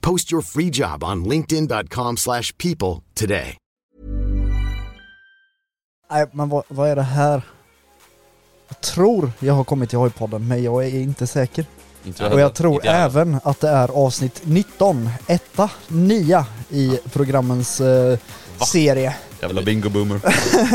Post your free job on linkedin.com/people slash people today. Nej, men vad, vad är det här? Jag tror jag har kommit till hojpodden, men jag är inte säker. Inte jag Och heller. jag tror Inte jag heller. även att det är avsnitt 19, etta, nia i programmens eh, Va? serie. Jävla bingo boomer.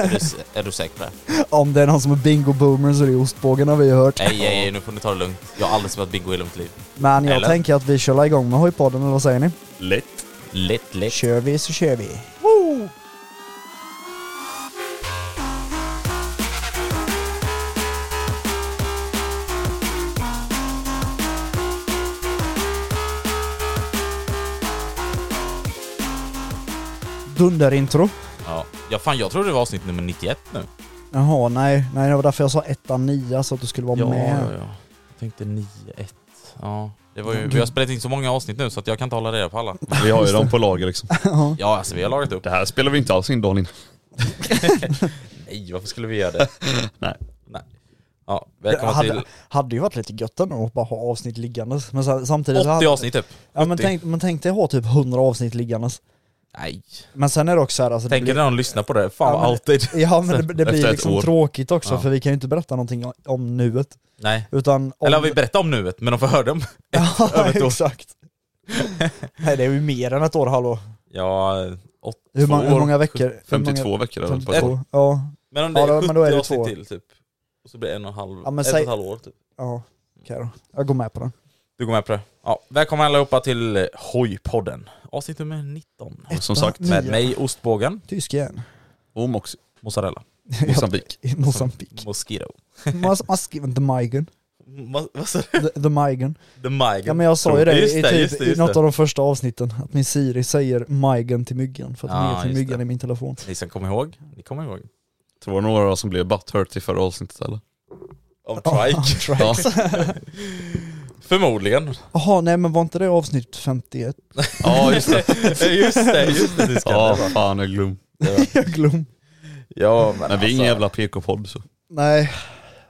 Är du, s- är du säker på det? Om det är någon som är bingo-boomer så är det ostbågen har vi ju hört. Nej, nej, nej, nu får ni ta det lugnt. Jag har aldrig spelat bingo i hela mitt liv. Men jag Eller? tänker att vi kör la igång med hojpodden, eller vad säger ni? Lätt. Lätt, lätt. Kör vi så kör vi. Dunderintro. Ja. ja, fan jag trodde det var avsnitt nummer 91 nu. Jaha, nej, nej det var därför jag sa ettan, nia så att du skulle vara med. ja. Jag tänkte 91. Ja, det var Mm. ju... Vi har spelat in så många avsnitt nu så att jag kan inte hålla reda på alla. Vi har ju dem på lager liksom. Ja, alltså vi har lagat upp. Det här spelar vi inte alls in dagen innan. Nej, varför skulle vi göra det? Nej. Nej. Ja, Det välkomna hade, till hade ju varit lite gött ändå att bara ha avsnitt liggandes. Men sen- samtidigt... så 80 hade- avsnitt typ. Ja men 70. tänk, men tänk dig ha typ 100 avsnitt liggandes. Nej. Men sen är det också så här, alltså, det Tänker blir, när någon lyssnar på det. Fan Ja, vad men- alltid. Ja men det, det Efter blir ett liksom år. tråkigt också Ja. för vi kan ju inte berätta någonting om, om nuet. Nej. Utan om, Eller har vi berättat om nuet, men de får höra det om ja, över ett år? exakt. Nej det är ju mer än ett år, hallå. Ja, åtta Hur, ma- år. hur många veckor? hur 52 många, veckor är det väl på ett år. 52. Ja, Men om det Ja, är då- 70 men då är det avsnitt två. till typ. Och så blir det en och en halv, Ja, men ett och säg- ett halvår typ. ja. Okej då. Jag går med på den. Du går med på det? Ja, välkomna allihopa till eh, Hojpodden. Avsnitt nummer 19. Och som Etta, sagt, nia. Med mig Ostbågen, Tysk igen. Och Mox- Mozzarella, Mosambik. I Mosambik. Mosquito. Mas- mas- The Migen. Ma- Vad sa du? The, the Migen. The Migen. Ja men jag sa ju Tror- det, Just i, det, typ, just det, just i något det. av de första avsnitten, att min Siri säger Migen till myggan för att Ja, den är till Ah, just myggan det. i min telefon. Ni som kommer ihåg, ni kommer ihåg. Det var några som blev butthurt i förra avsnittet eller? Om Ja, Trike. Trike. Ja. Förmodligen. Jaha, nej men var inte det avsnitt 51? ja just det. Eh, just det, just det. Diskan. Ja fan jag glöm. Jag glöm. Ja, men Men vi är alltså- ingen jävla PK-podd så. Nej.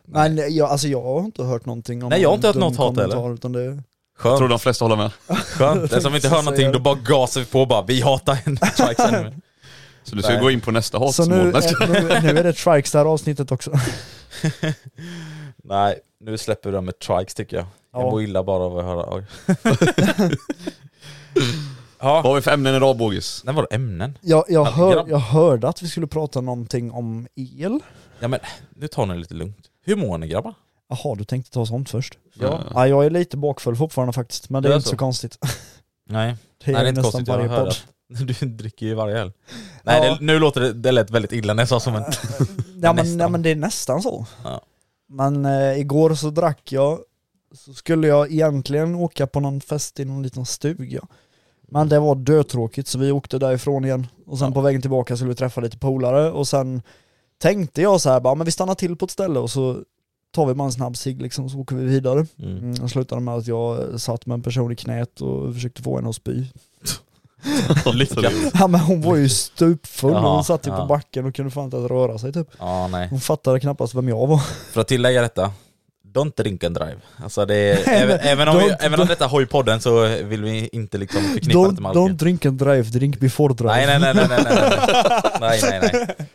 Men jag, alltså jag har inte hört någonting om Nej, jag har inte hört dum något hat kommentar, heller. Utan det... Jag tror Skönt, de flesta håller med. skönt. Eftersom vi inte hör någonting då bara gasar vi på och bara vi hatar en Trikes anime. Så du ska Nej. gå in på nästa hat Så som nu, mål. Nej, ska- eh, nu, nu är det trikes det här avsnittet också. Nej, nu släpper vi det med trikes tycker jag. Jag Ja. mår illa bara av att höra. Oj. Vad ja, har vi för ämnen idag Bogis? när var det ämnen? Jag, jag, Ja, hör, grabb. jag hörde att vi skulle prata någonting om el. Ja men nu tar ni det lite lugnt. Hur mår ni grabbar? Jaha, du tänkte ta sånt först? Ja. Ja, jag är lite bakfull fortfarande faktiskt, men det Det är är inte så så. konstigt. Nej, Det är, Nej, det är inte nästan konstigt. Jag varje hör podd. att du dricker ju varje öl. Nej, Ja. det, nu låter det, det lät väldigt illa när jag sa som en... Ja, men, Nästan. ja men det är nästan så. Ja. Men eh, igår så drack jag, så skulle jag egentligen åka på någon fest i någon liten stuga. Men det var dötråkigt så vi åkte därifrån igen och sen på vägen tillbaka skulle vi träffa lite polare och sen tänkte jag så här bara, men vi stannar till på ett ställe och så tar vi bara en snabb cigg liksom så åker vi vidare. Mm. eh, Mm, och slutade med att jag satt med en person i knät och försökte få henne att spy. Lyckat. Ja, men hon var ju stupfull och Jaha, hon satt ju ja. på backen och kunde fan inte ens röra sig typ. Ja, nej. Hon fattade knappast vem jag var. För att tillägga detta. Don't drink and drive. Alltså det är, även, även, om vi, don't- även om detta har i podden så vill vi inte liksom förknippa Don't, det med alkohol. don't drink and drive, drink before drive. Nej, nej, nej, nej, nej, nej, nej, nej, nej.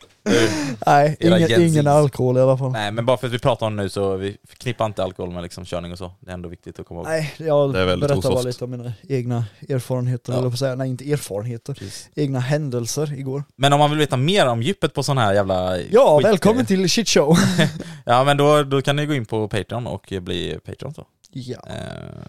nej. Era ingen, Gen ingen Zs. alkohol i alla fall. Nej, Nej, men bara för att vi pratar om det nu så vi förknippar inte alkohol med liksom körning och så. Det är ändå viktigt att komma ihåg. jag Det är väldigt berättar bara osoft. lite om mina egna erfarenheter, Ja. eller på att säga, nej inte erfarenheter, Precis. egna händelser igår. Men om man vill veta mer om djupet på sån här jävla Ja, skit- välkommen till shit show! Ja, men då, då kan ni gå in på Patreon och bli Patreon så. ja. Eh,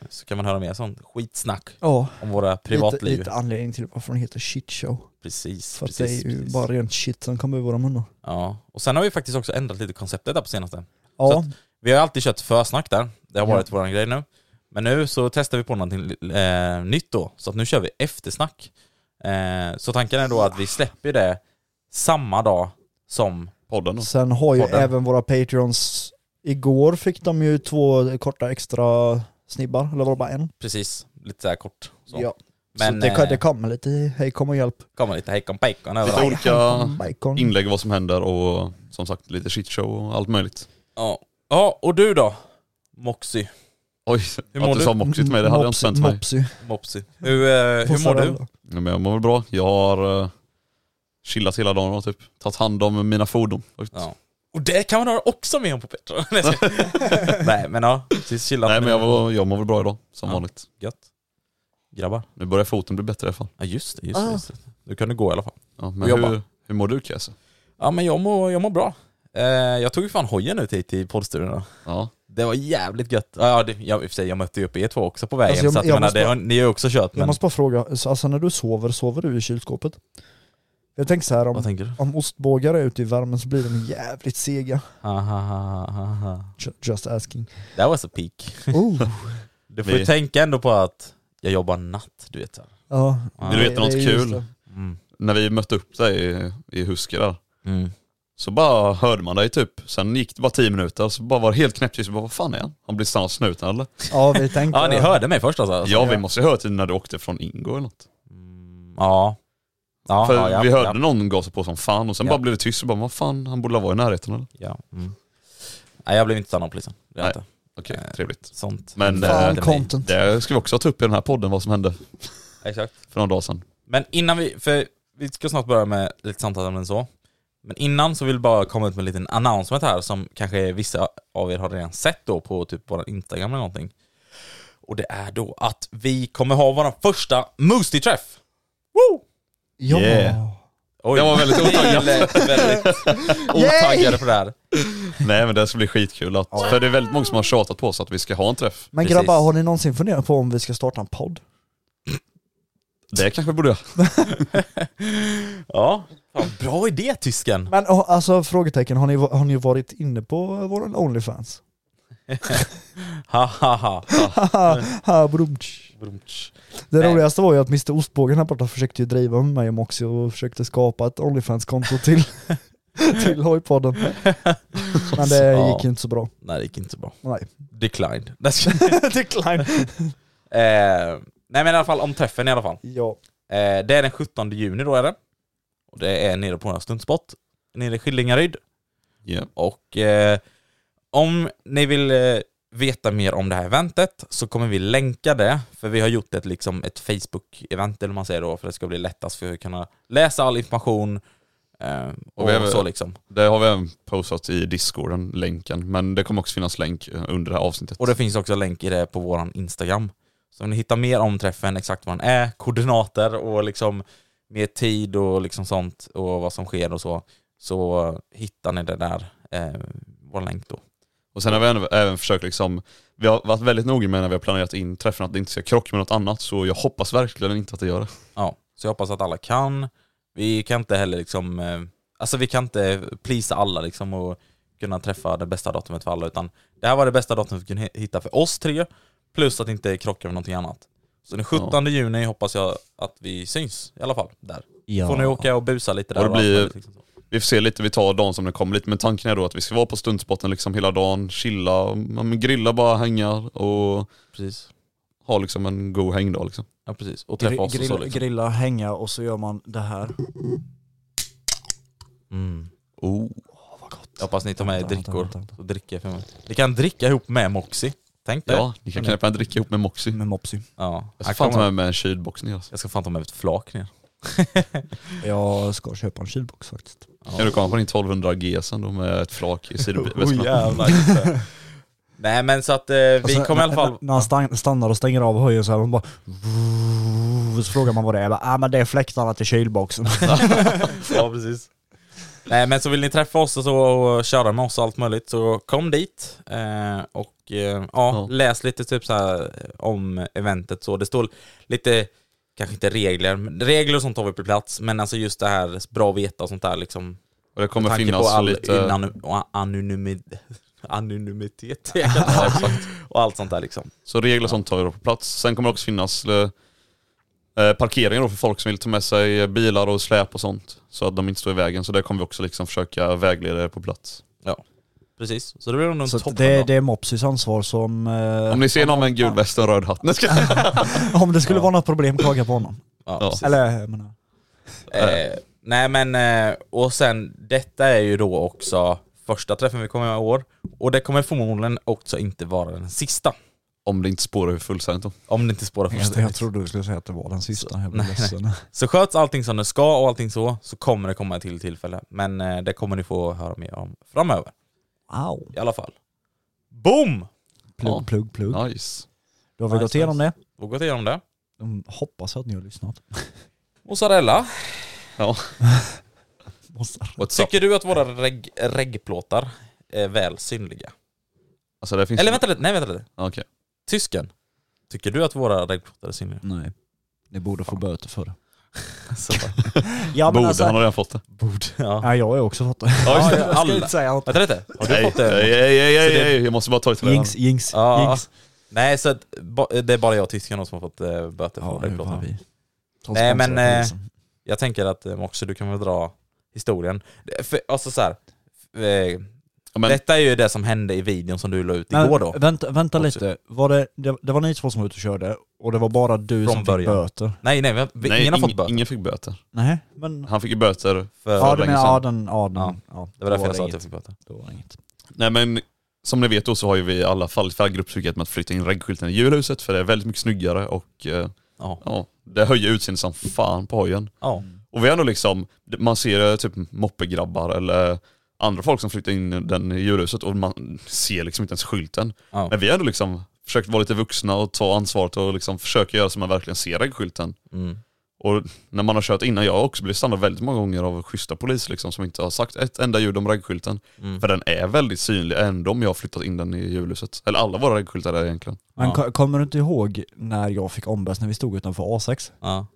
så kan man höra mer sånt skitsnack Ja, om våra lite, privatliv. lite anledning till varför den heter shit show. Precis, För att det precis, är ju precis. bara rent shit som kommer ur våra munnar. Ja, och sen har vi faktiskt också ändrat lite konceptet där på senaste. Så Ja, att- Vi har ju alltid kört försnack där, det har Ja. varit våran grej nu. Men nu så testar vi på någonting eh, nytt då, så att nu kör vi eftersnack. Eh, så tanken är då att vi släpper det samma dag som... Podden då. sen har ju podden. även våra patreons, igår fick de ju två korta extra snibbar, eller var det bara en? Precis, lite så här kort. Så. Ja. Men så det, eh, det kommer lite, hej kom och hjälp. kommer lite hejkon pejkon Lite överallt. olika Bacon. inlägg vad som händer och som sagt lite shitshow och allt möjligt. Ja. ja, och du då? Moxie, Oj, Hur mår att du du? sa moxigt med det hade jag inte Mopsy- vänt mig. Mopsy. Mopsy. Hur, eh, hur mår du? Mozzarella. Nej, Men jag mår väl bra. Jag har eh, chillat hela dagen och typ tagit hand om mina fordon. Ja. Och det kan man höra också med om på Patreon. Nej, jag skojar. Nej men ja, precis chilla. Nej men jag, var, jag mår väl bra idag, som Ja. vanligt. Gött. Grabbar. Nu börjar foten bli bättre i alla fall. Ja just det, just, Ah. det, just det. Nu kan du gå i alla fall. Ja, men Och jobba. hur, hur mår du Kiese? Ja men jag mår, jag mår bra. Eh, jag tog ju fan hojen ut hit till poddstudion då. Ja. Det var jävligt gött. Ja, ja, det, jag, i och för sig, jag mötte ju upp er två också på vägen Alltså, jag- så att jag jag menar, måste det, bara- har- ni har ju också kört Jag men... måste bara fråga, så alltså när du sover, sover du i kylskåpet? Jag tänker så här Vad om, tänker du? om ostbågar är ute i värmen så blir de jävligt sega. Ha, Ah, ha, ha, ha, ha. Ju- Just asking. That was a peak. Oh. Du får ju Vi- tänka ändå på att jag jobbar natt, du vet. så här. Ja, Ja. Vill du det- veta det är något just kul? det. Mm. När vi mötte upp dig i, i Huske där, Mm. så bara hörde man dig typ. Sen gick det bara tio minuter, så bara var det helt knäpptyst. Vi bara, Vad fan är han? Han blir stannad snuten eller? Ja, vi tänkte Ja, ni det. hörde mig först alltså? Ja vi måste ju ha hört det när du åkte från Ingo eller något. Mm, Ja. Ja, För ja, ja, vi hörde ja, någon gasa på som fan och sen Ja. bara blev det tyst och bara vad fan, han borde vara i närheten eller? ja, mm. Nej, jag blev inte stannad av polisen. Det är Nej. inte. Okej, Nej. trevligt. Sånt. Men, Det är Fan eh, inte mig. content. Det ska vi också ta upp i den här podden, vad som hände Exakt. för några dagar sedan. Men innan vi, för vi ska snart börja med lite samtalsämnen så. Men innan så vill jag bara komma ut med en liten announcement här som kanske vissa av er har redan sett då på typ vår Instagram eller någonting. Och det är då att vi kommer ha vår första Moostie-träff! Woo! Ja. Yeah. Oj, Jag var väldigt otaggad. Vi lät väldigt otaggade på det här. Nej men det ska bli skitkul att, för det är väldigt många som har tjatat på oss att vi ska ha en träff. Men Precis. grabbar, har ni någonsin funderat på om vi ska starta en podd? Det kanske borde jag. Ja, fan, bra idé tysken! Men oh, alltså frågetecken, har ni, har ni varit inne på våran Onlyfans? Ha, ha, ha, ha. Haha, brumtsch. Det roligaste var ju att Mr Ostbågen här borta försökte ju driva med mig och Moxie och försökte skapa ett Onlyfans-konto till, till hojpodden. Men det Ja. gick ju inte så bra. Nej det gick inte så bra. Nej. Declined. Nej, ska- eh, nej men i alla fall om träffen i alla fall. Ja. Eh, det är den 17 juni då är det. Och det är nere på en stuntspot. Nere i Skillingaryd. Ja. Och eh, om ni vill eh, veta mer om det här eventet så kommer vi länka det. För vi har gjort ett, liksom, ett Facebook-event eller vad man säger då. För det ska bli lättast för er att kunna läsa all information. Eh, och, vi har- så liksom. Det har vi även postat i discorden, länken. Men det kommer också finnas länk eh, under det här avsnittet. Och det finns också länk i det på våran Instagram. Så om ni hittar mer om träffen, exakt vad den är, koordinater och liksom mer tid och liksom sånt och vad som sker och så, så hittar ni det där, eh, vår länk då. Och sen har vi även, även försökt liksom, vi har varit väldigt noga med när vi har planerat in träffen att det inte ska krocka med något annat. Så jag hoppas verkligen inte att det gör det. Ja, så jag hoppas att alla kan. Vi kan inte heller liksom, eh, alltså vi kan inte pleasa alla liksom och kunna träffa det bästa datumet för alla utan det här var det bästa datumet vi kunde hi- hitta för oss tre, plus att det inte krockar med någonting annat. Så den 17 juni hoppas jag att vi syns i alla fall där. Får ni åka och busa lite där. Och det allt blir- möjligt liksom så. Vi får se lite, vi tar dagen som den kommer lite. Men tanken är då att vi ska vara på stundspotten liksom hela dagen, chilla, ja, men grilla bara, hänga och Precis. ha liksom en god hängdag liksom. Ja precis, och träffa Gri- oss och så grill, liksom. grilla, hänga och så gör man det här. Mm. Oh. Jag hoppas ni tar med er Vänta, vänta, drickor vänta, vänta. och dricker för mig. Ni kan dricka ihop med Moxie, tänk dig. Ja, ni kan knäppa en dricka ihop med Moxie. Med Mopsy. Ja. Jag ska Han fan ta kommer- med mig en kylbox ner alltså. jag ska fan ta med ett flak ner. Jag ska köpa en kylbox faktiskt. Kan du komma på din 1200 GS då med ett flak i Oh, sidoväskan? jävlar. Nej men så att eh, vi Alltså, kommer i alla när- fall... När han stan- stannar och stänger av höjen så här, man bara... Så frågar man vad det är. Jag Bara, ah, men det är fläktarna till kylboxen. ja precis. Nej men så vill ni träffa oss och så och köra med oss och allt möjligt så kom dit eh, och eh, ja, Ja. läs lite typ så här om eventet så. Det står lite, kanske inte regler, men regler och sånt har vi på plats men alltså just det här bra att veta och sånt där liksom. Och det kommer Med tanke finnas på all lite... inan- och anonymit- anonymitet jag kan Ja, säga. exakt. och allt sånt där liksom. Så regler och sånt tar vi då på plats. Sen kommer det också finnas eh, eh, parkeringar då för folk som vill ta med sig eh, bilar och släp och sånt. Så att de inte står i vägen. Så det kommer vi också liksom försöka vägleda er på plats. Precis, så det blir nog så en att toppen det, det, det är Mopsys ansvar som... eh, Om ni ser någon med en gul väst och en röd hatt. Nej, ska jag- Om det skulle vara något problem, klaga på honom. Ja, Ja. precis. Eller jag menar, Eh, nej men, eh, och sen detta är ju då också första träffen vi kommer göra i år. Och det kommer förmodligen också inte vara den sista. Om det inte spårar hur fullständigt då. Om det inte spårar jag, fullständigt. jag trodde du skulle säga att det var den sista. Jag blev Nej, ledsen. Så sköts allting som det ska och allting så, så kommer det komma till tillfälle. Men eh, det kommer ni få höra mer om framöver. Wow. I alla fall. Boom! Plugg, plugg, plugg. Nice. Då har vi Nice, gått igenom det. Då går vi igenom det. Mm, Hoppas att ni har lyssnat. Mozzarella. What's up? Tycker du att våra reg- reggplåtar är väl synliga? Alltså det finns... Eller vänta lite, nej vänta lite. Ja, Okej. Tysken. Tycker du att våra reggplåtar är synliga? Nej. Ni borde få böter för det. Alltså, Ja, men Borde, alltså, han har redan fått det. bord. Ja. ja, jag har ju också fått det. Ja, just det. jag ska Alla. inte säga något. Vänta lite, har du Nej, fått eh, det? nej, nej, nej, Så det- nej, jag måste bara ta det till Jinx, det. jinx, Ja. jinx. Nej, så att, ba- det är bara jag och tyskarna som har fått eh, böter Ja, för nu var reggplåtarna. vi. Ta Nej, men, sponsor, eh, liksom. Jag tänker att eh, också du kan väl dra historien. Det- För, alltså så här, eh, Ja, men- detta är ju det som hände i videon som du la ut Men igår då. Vänta, vänta Också. lite, var det, det, det var ni två som var ute och körde och det var bara du Från som fick början. böter? Nej, nej, vi, vi, Nej, ingen har ing- fått böter. Ingen fick böter. Nej, men... Han fick ju böter För, Ja, du länge menar, sedan. ja, den, ja, den, ja, det var därför jag sa att inget. jag fick böter. Då var det inget. Nej men som ni vet då så har ju vi i alla fall för grupptrycket med att flytta in reggskylten i julhuset för det är väldigt mycket snyggare och eh, Ja. ja, det höjer utseendet som fan på hojen. ja. Mm. Och vi har ändå liksom, man ser eh, typ moppegrabbar eller andra folk som flyttar in den i julhuset och man ser liksom inte ens skylten. Ja. Men vi har ändå liksom försökt vara lite vuxna och ta ansvaret och liksom försöka göra så man verkligen ser reggskylten. Mm. Och när man har kört innan, jag har också blivit stannad väldigt många gånger av schyssta poliser liksom, som inte har sagt ett enda ljud om raggskylten. För den är väldigt synlig ändå om jag har flyttat in den i julhuset. Eller alla våra raggskyltar är egentligen. Men Ja. ko- kommer du inte ihåg när jag fick ombäs när vi stod utanför A6? Ja.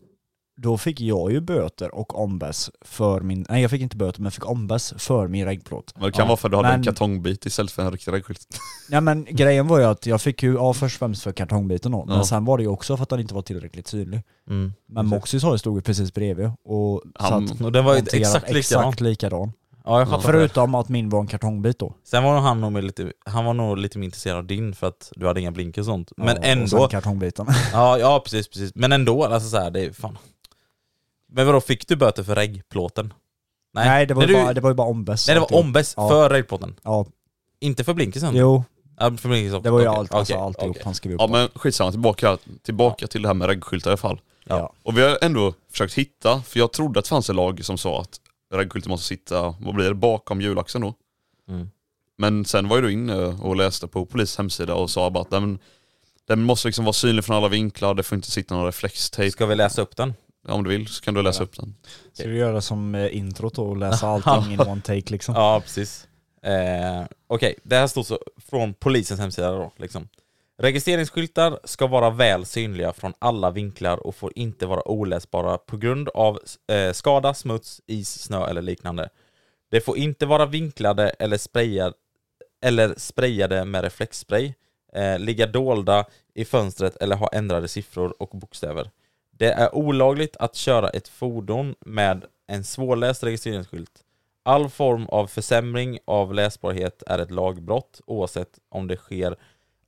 Då fick jag ju böter och ombäs för min, nej jag fick inte böter men jag fick ombäs för min reggplåt. Men det kan Ja, vara för att du hade en men- kartongbit istället för en riktig raggskylt. Nej men grejen var ju att jag fick ju, ja först och främst för kartongbiten då, Ja. men sen var det ju också för att den inte var tillräckligt synlig. Mm. Men Moxie sa ju stod ju precis bredvid och Han- satt Och den var ju monterad exakt likadan. exakt likadan. Ja, jag fattar det. Förutom att min var en kartongbit då. Sen var nog han, nog lite, han var nog lite mer intresserad av din för att du hade inga blinkers och sånt. Men Ja, Och ändå, sen kartongbiten. Ja, ja precis, precis. Men ändå, alltså så här, det är fan. Men vadå, fick du böter för reggplåten? Nej, det, var nej, ju du- bara, det var ju bara ombäs. Nej det var alltihop. ombäst Ja. för reggplåten. Ja, Inte för blinkersen? jo. Ja, för blinkersen. Det var ju Okej, allt, alltså okej, alltihop okej. han skrev upp. Ja men skitsamma, tillbaka, tillbaka till det här med raggskyltar i alla fall. Ja. Och vi har ändå försökt hitta, för jag trodde att det fanns en lag som sa att raggskylten måste sitta, vad blir det, bakom hjulaxeln då. Mm. Men sen var ju du inne och läste på polisens hemsida och sa bara att den, den måste liksom vara synlig från alla vinklar, det får inte sitta någon reflextejp. Ska vi läsa upp den? Ja, om du vill så kan du läsa upp den. Ska du göra som eh, introt då och läsa allting in one take liksom? Ja, precis. Eh, Okej, det här står så från polisens hemsida då. Liksom. Registreringsskyltar ska vara väl synliga från alla vinklar och får inte vara oläsbara på grund av eh, skada, smuts, is, snö eller liknande. De får inte vara vinklade eller sprayade, eller sprayade med reflexspray, eh, ligga dolda i fönstret eller ha ändrade siffror och bokstäver. Det är olagligt att köra ett fordon med en svårläst registreringsskylt. All form av försämring av läsbarhet är ett lagbrott oavsett om det sker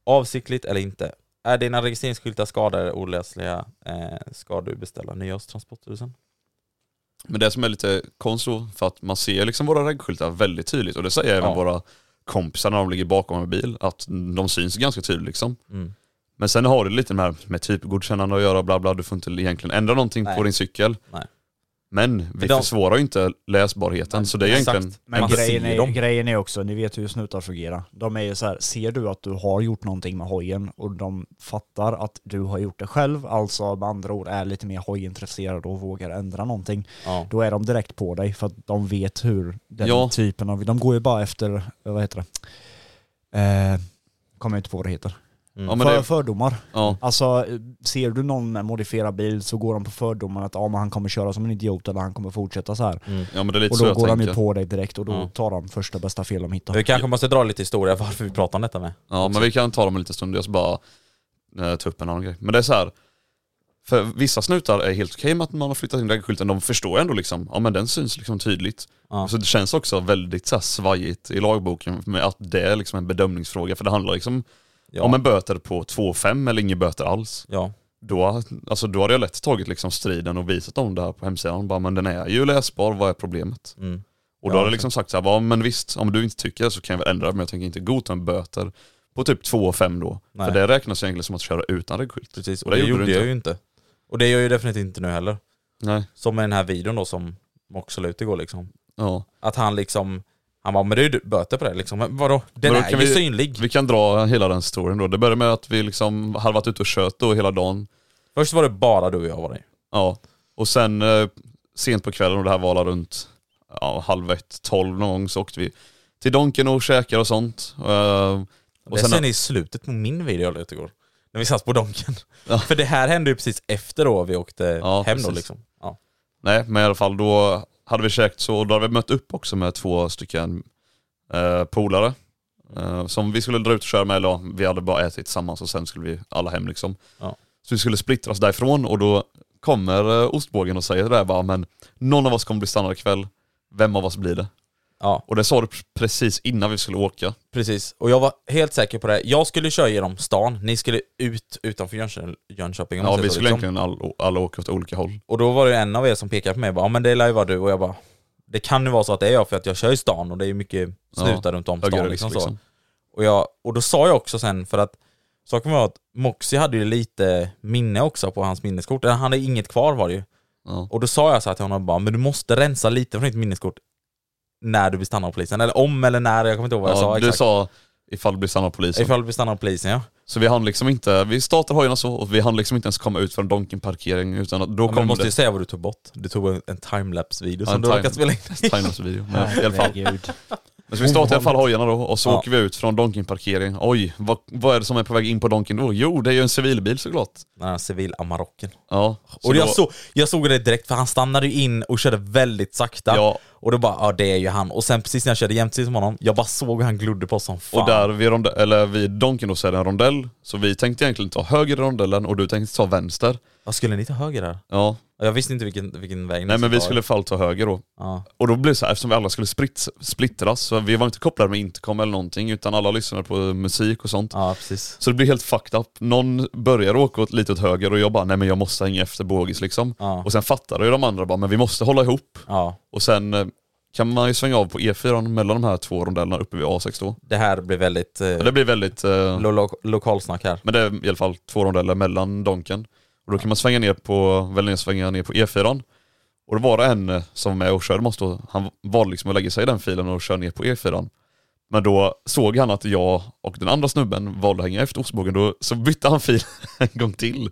avsiktligt eller inte. Är dina registreringsskyltar skadade eller oläsliga eh, ska du beställa nya hos Transportstyrelsen. Men det som är lite konstigt då, för att man ser liksom våra reggskyltar väldigt tydligt och det säger även Ja. våra kompisar när de ligger bakom en bil, att de syns ganska tydligt liksom. Mm. Men sen har det lite med, med typgodkännande att göra, bla bla, du får inte egentligen ändra någonting Nej. på din cykel. Nej. Men vi de- försvårar ju inte läsbarheten, Nej, så det är exakt. egentligen Men en Man grej. grej- grejen, ser är, dem. grejen är också, ni vet hur snutar fungerar. De är ju så här, ser du att du har gjort någonting med hojen och de fattar att du har gjort det själv, alltså med andra ord är lite mer hojintresserade och vågar ändra någonting, Ja. då är de direkt på dig för att de vet hur den Ja. typen av, de går ju bara efter, eh, vad heter det, eh, kommer jag inte på vad det heter, Mm. Ja, men För, det, fördomar. ja. Alltså eh, ser du någon med modifierad bil så går de på fördomar att ja, men han kommer köra som en idiot eller han kommer fortsätta så här. Mm. ja men det är lite Och så då jag går de tänker. ju på dig direkt och då Ja. tar de första bästa fel de hittar. Vi kanske måste dra lite historia varför vi pratar om detta med. Ja men vi kan ta dem en liten stund, jag ska bara eh, ta upp en annan grej. Men det är så här. För vissa snutar är helt okej med att man har flyttat in reggskylten, de förstår ändå liksom, ja men den syns liksom tydligt. Ja. Så det känns också väldigt så här, svajigt i lagboken med att det är liksom en bedömningsfråga, för det handlar liksom Ja. om en böter på 2,5 eller inga böter alls. ja. Då, alltså, då hade jag lätt tagit liksom striden och visat dem det här på hemsidan, bara men den är ju läsbar, vad är problemet? Mm. Och Ja, då hade jag liksom sagt så här, ja men visst, om du inte tycker så kan jag väl ändra det, men jag tänker inte godta en böter på typ 2 5 då. Nej. För det räknas egentligen som att köra utan reggskylt. Precis, och Det det, gjorde gjorde, du jag inte. ju inte. Och det gör jag ju definitivt inte nu heller. Nej. Som med den här videon då som Mox la ut igår liksom. Ja. Att han liksom, han bara men det är ju böter på det liksom. Men vadå? Den Men då är ju kan vi- synlig. Vi kan dra hela den storyn då. Det började med att vi liksom hade varit ute och kört då hela dagen. Först var det bara du och jag var det. Ja. Och sen eh, sent på kvällen, och det här var alla runt ja, halv ett, tolv någon gång, så åkte vi till Donken och käkade och sånt. Eh, Och och det sen, sen, är i slutet på min video jag la ut igår. När vi satt på Donken. Ja. För det här hände ju precis efter då vi åkte Ja, hem då precis. liksom. Ja. Nej, men i alla fall då hade vi käkat så, och då hade vi mött upp också med två stycken eh, polare. Eh, som vi skulle dra ut och köra med, eller ja, vi hade bara ätit tillsammans och sen skulle vi alla hem liksom. Ja. Så vi skulle splittras därifrån och då kommer eh, ostbågen och säger det där bara, men någon av oss kommer bli stannad ikväll, vem av oss blir det? ja. Och det sa du precis innan vi skulle åka. Precis, och jag var helt säker på det. Jag skulle köra genom stan, ni skulle ut utanför Jönköping, Jönköping om Ja, man säger vi så, liksom. skulle egentligen alla, alla åka åt olika håll. Och då var det en av er som pekade på mig och bara, ja men det lär ju vara du, och jag bara, det kan ju vara så att det är jag för att jag kör i stan och det är ju mycket snutar runt om stan Högerrisk, liksom, så. Och, jag, och då sa jag också sen, för att saken var att Moxie hade ju lite minne också på hans minneskort, eller han hade inget kvar var det ju. Ja. Och då sa jag så här till honom bara, men du måste rensa lite från ditt minneskort när du blir stannad av polisen, eller om eller när, jag kommer inte ihåg vad jag Ja, sa du exakt. sa ifall det blir stannad av polisen. Ifall du blir stannad av polisen ja. Så vi hann liksom inte, vi startade hojarna så och vi hann liksom inte ens komma ut från Donken-parkeringen utan att då Ja, men kom du måste ju det säga vad du tog bort. Du tog en- en timelapse-video Ja, som en du time- råkat spela in. timelapse-video. Men, i alla fall. Herregud. men så vi startade i alla fall hojarna då och så Ja. åker vi ut från Donken-parkeringen. Oj, vad, vad är det som är på väg in på Donken då? Jo, det är ju en civilbil såklart. Den här civil-amarocken. Ja. Och jag, då- så, jag såg det direkt för han stannade ju in och körde väldigt sakta. Ja. Och då bara, ja det är ju han. Och sen precis när jag körde jämsides med honom, jag bara såg hur han glodde på oss som fan. Och där vid, ronde, eller vid Donken då så är det en rondell. Så vi tänkte egentligen ta höger i rondellen och du tänkte ta vänster. Ja, skulle ni ta höger där? Ja. Ja, Jag visste inte vilken, vilken väg ni Nej men vi ta. skulle i alla fall ta höger då. Alltså, Ja. Och då blev det så här, eftersom vi alla skulle spritt, splittras, så vi var inte kopplade med intercom eller någonting utan alla lyssnade på musik och sånt. ja, precis. Så det blir helt fucked up. Någon börjar åka åt lite åt höger och jag bara nej men jag måste hänga efter Bogis liksom. Ja. Och sen fattar ju de andra bara men vi måste hålla ihop. Ja, Och sen eh, kan man ju svänga av på E4 mellan de här två rondellerna uppe vid A6 då. det här blir väldigt eh, Men det blir väldigt, eh, lo- lo- lokalsnack här. men det är i alla fall två rondeller mellan Donken. Och då kan man svänga ner på, välja svänga ner på E4. Och då var det en eh, som var med och körde måste då, han valde liksom att lägga sig i den filen och köra ner på E4. Men då såg han att jag och den andra snubben valde att hänga efter ostbågen, då så bytte han fil en gång till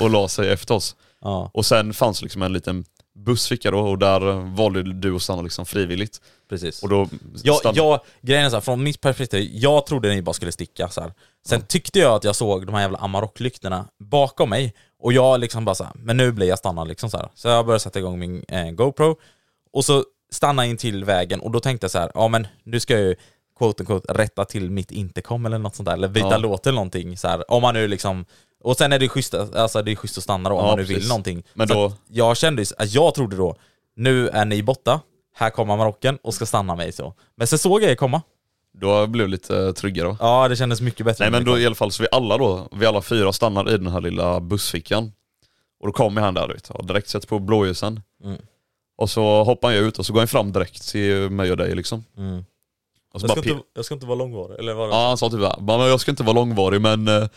och la sig efter oss. Ja, Och sen fanns liksom en liten bussficka då och där eh, valde du att stanna liksom frivilligt. precis. Och då Jag, stann- jag, grejen är så här, från mitt perspektiv, jag trodde ni bara skulle sticka så här. Sen tyckte jag att jag såg de här jävla Amarok-lyktorna bakom mig, och jag liksom bara så här, men nu blir jag stannad liksom så här. Så jag började sätta igång min eh, GoPro, och så stannade jag in till vägen, och då tänkte jag så här, ja men nu ska jag ju quote unquote rätta till mitt intercom eller något sånt där, eller byta Ja. låt eller någonting så här. Om man nu liksom, och sen är det ju schysst, alltså det är schysst att stanna då om Ja, man nu precis. vill någonting. Men Så då- att jag kände ju, så- att jag trodde då, nu är ni borta, här kommer marocken och ska stanna mig så. Men så såg jag er komma. Då blev det lite tryggare va? Ja, det kändes mycket bättre. Nej men då i alla fall så vi alla då, vi alla fyra stannar i den här lilla bussfickan. Och då kommer han där du vet, och direkt sätter på blåljusen. Mm. Och så hoppar han ju ut och så går han fram direkt till mig och dig liksom. Mm. Och så Jag, bara ska pe- inte, jag ska inte vara långvarig, eller vad Ja han sa typ bara, "Mamma, jag ska inte vara långvarig men eh,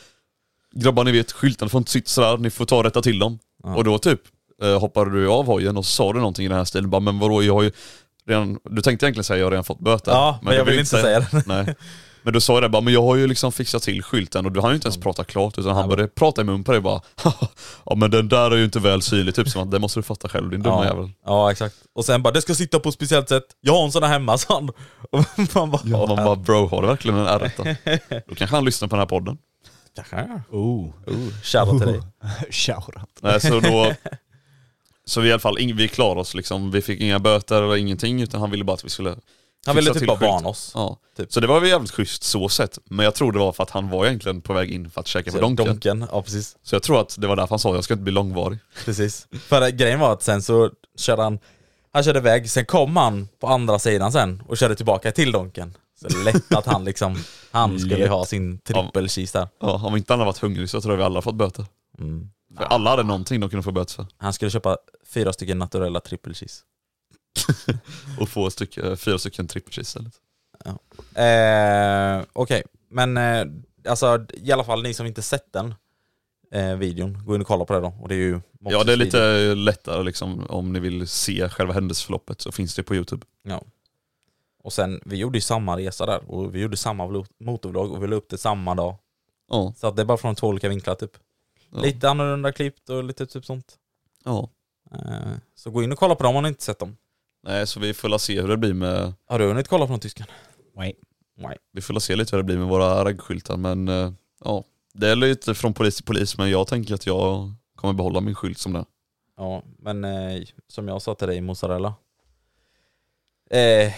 grabbar ni vet skyltarna får inte sitta sådär, ni får ta och rätta till dem. Ja. Och då typ eh, hoppade du av hojen och så sa du någonting i den här stilen, bara, men vadå jag har ju redan, du tänkte egentligen säga jag har redan fått böter. Ja, men, jag vill inte säga det. Nej. Men du sa ju det bara, men jag har ju liksom fixat till skylten och du hann ju inte ens prata klart utan han började prata i mun på dig bara Ja men den där är ju inte väl synlig typ, som att det måste du fatta själv din dumma ja. jävel. Ja, exakt. Och sen bara, det ska sitta på ett speciellt sätt. Jag har en sån här hemma, sa han. Och man bara, Ja. Man bara bro, har du verkligen en r Då kanske han lyssnar på den här podden. kanske. Oh, Shoutout till dig. shoutout. Nej, så då... Så vi i alla fall, ing- vi klarade oss liksom. Vi fick inga böter eller ingenting utan han ville bara att vi skulle... Han ville typ fixa till bara skylten. varna oss. Ja. Typ. Så det var väl jävligt schysst så sett. Men jag tror det var för att han var egentligen på väg in för att käka på Donken. Donken, ja precis. Så jag tror att det var därför han sa jag ska inte bli långvarig. Precis. För att grejen var att sen så körde han, han körde iväg, sen kom han på andra sidan sen och körde tillbaka till Donken. Så lätt att han liksom, han skulle Lätt. ha sin trippelkis där. Ja, om inte han hade varit hungrig så tror jag vi alla hade fått böter. Mm. För alla hade någonting de kunde få böter för. Han skulle köpa fyra stycken naturella trippelkis. Och få styck, eh, fyra stycken triple cheese istället. Eh, Okej, men eh, alltså i alla fall ni som inte sett den eh, videon, gå in och kolla på det då. Och det är ju Ja det är Moxes video. lite lättare liksom om ni vill se själva händelseförloppet så finns det på youtube. Och sen, vi gjorde ju samma resa där och vi gjorde samma vlo- motorvlogg och vi la upp det samma dag. Ja. Så att det är bara från två olika vinklar typ. Ja. Lite annorlunda klippt och lite typ sånt. ja. Eh, Så gå in och kolla på dem om ni inte sett dem. Nej så vi får la se hur det blir med Har du hunnit kolla på någon tyskan? Nej. Vi får la se lite hur det blir med våra raggskyltar men eh, ja, det är lite från polis till polis men jag tänker att jag kommer behålla min skylt som den. Ja, men eh, som jag sa till dig mozzarella. Eh,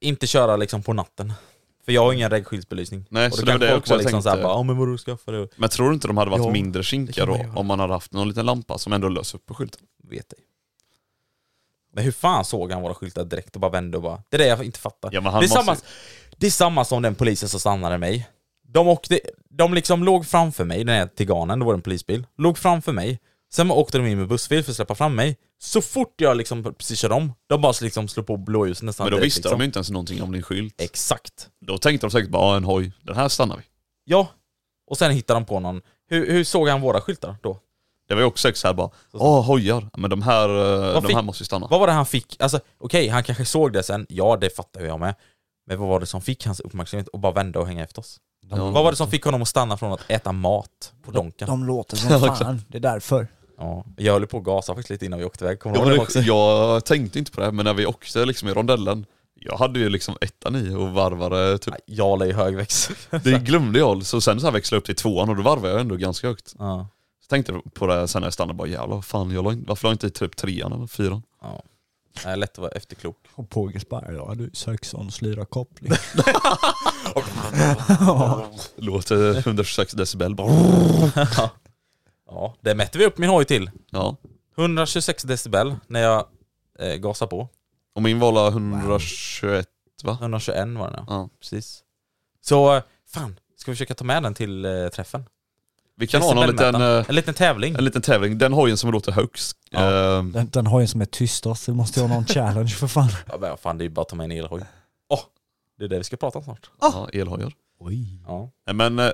inte köra liksom på natten. För jag har ingen regnskyddsbelysning. Nej, och så då det var kan det jag folk också vara liksom tänkte. såhär bara, ja men vadå skaffa det? Men tror du inte de hade varit Jo, mindre det kan kinkiga man då göra. om man hade haft någon liten lampa som ändå löser upp på skylten? Vet ej. Men hur fan såg han våra skyltar direkt och bara vände och bara, det är det jag inte fattar. Ja, men han det, är måste- samma, det är samma som den polisen som stannade mig. De åkte, de liksom låg framför mig, den här tiganen, det var en polisbil, låg framför mig. Sen åkte de in med bussfil för att släppa fram mig. Så fort jag liksom precis kör om, de bara liksom slår på blåljus nästan Men då direkt, visste liksom. de ju inte ens någonting om din skylt. Exakt. Då tänkte de säkert bara "Ja, en hoj, den här stannar vi. Ja. Och sen hittar de på någon. Hur, hur såg han våra skyltar då? Det var ju också säkert såhär bara, åh hojar, Ja, men de här, eh, de fick- här måste ju stanna. Vad var det han fick? Alltså okej, han kanske såg det sen. Ja, det fattar jag med. Men vad var det som fick hans uppmärksamhet och bara vända och hänga efter oss? Ja. Vad var det som fick honom att stanna från att äta mat på Donken? De låter som fan, det är därför. Ja, jag höll på att gasa faktiskt lite innan vi åkte iväg. Kommer du Ja, ihåg men det det, också? jag tänkte inte på det, men när vi åkte liksom i rondellen, jag hade ju liksom ettan i och varvade typ Nej, Jag la ju hög växel. Det glömde jag, så sen så här växlade jag upp till tvåan och då varvade jag ändå ganska högt. ja. Så tänkte jag på det här sen när jag stannade bara jävlar fan jag la in, varför la jag inte i typ trean eller fyran? ja. Nej, lätt att vara efterklok. Och Påges bara, ja du Saxons lyrakoppling. Låter 126 decibel bara. Ja, det mätte vi upp min hoj till. Ja. 126 decibel när jag eh, gasar på. Och min var la 121 va? 121 var den ja. Ja. Precis. Så, eh, fan. Ska vi försöka ta med den till eh, träffen? Vi kan ha någon liten, Decibelmätaren. eh, en liten tävling. en liten tävling, den hojen som låter högst. Eh, Den, den har ju som är tystast, det måste ju ha någon challenge för fan. Ja, men fan, det är ju bara att ta med en elhoj. Åh! det är det vi ska prata om snart. ja, elhojar. Oj. Ja. Nej, Men eh,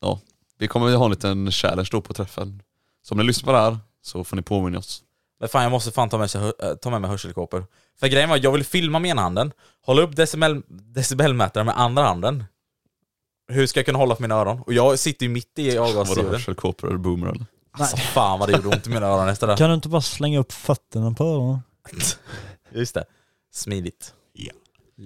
ja, vi kommer ju ha en liten challenge då på träffen. Så om ni lyssnar på det här så får ni påminna oss. Men fan, jag måste fan ta med, sig hö- eh, ta med mig hörselkåpor. För grejen var, jag vill filma med ena handen, hålla upp decibel, decibelmätaren med andra handen. Hur ska jag kunna hålla för mina öron? Och jag sitter ju mitt i Vadå avgasluren. hörselkåpor eller boomer eller? Alltså fan vad det gjorde ont i mina öron efter det. Kan du inte bara slänga upp fötterna på öronen? Just det. Smidigt.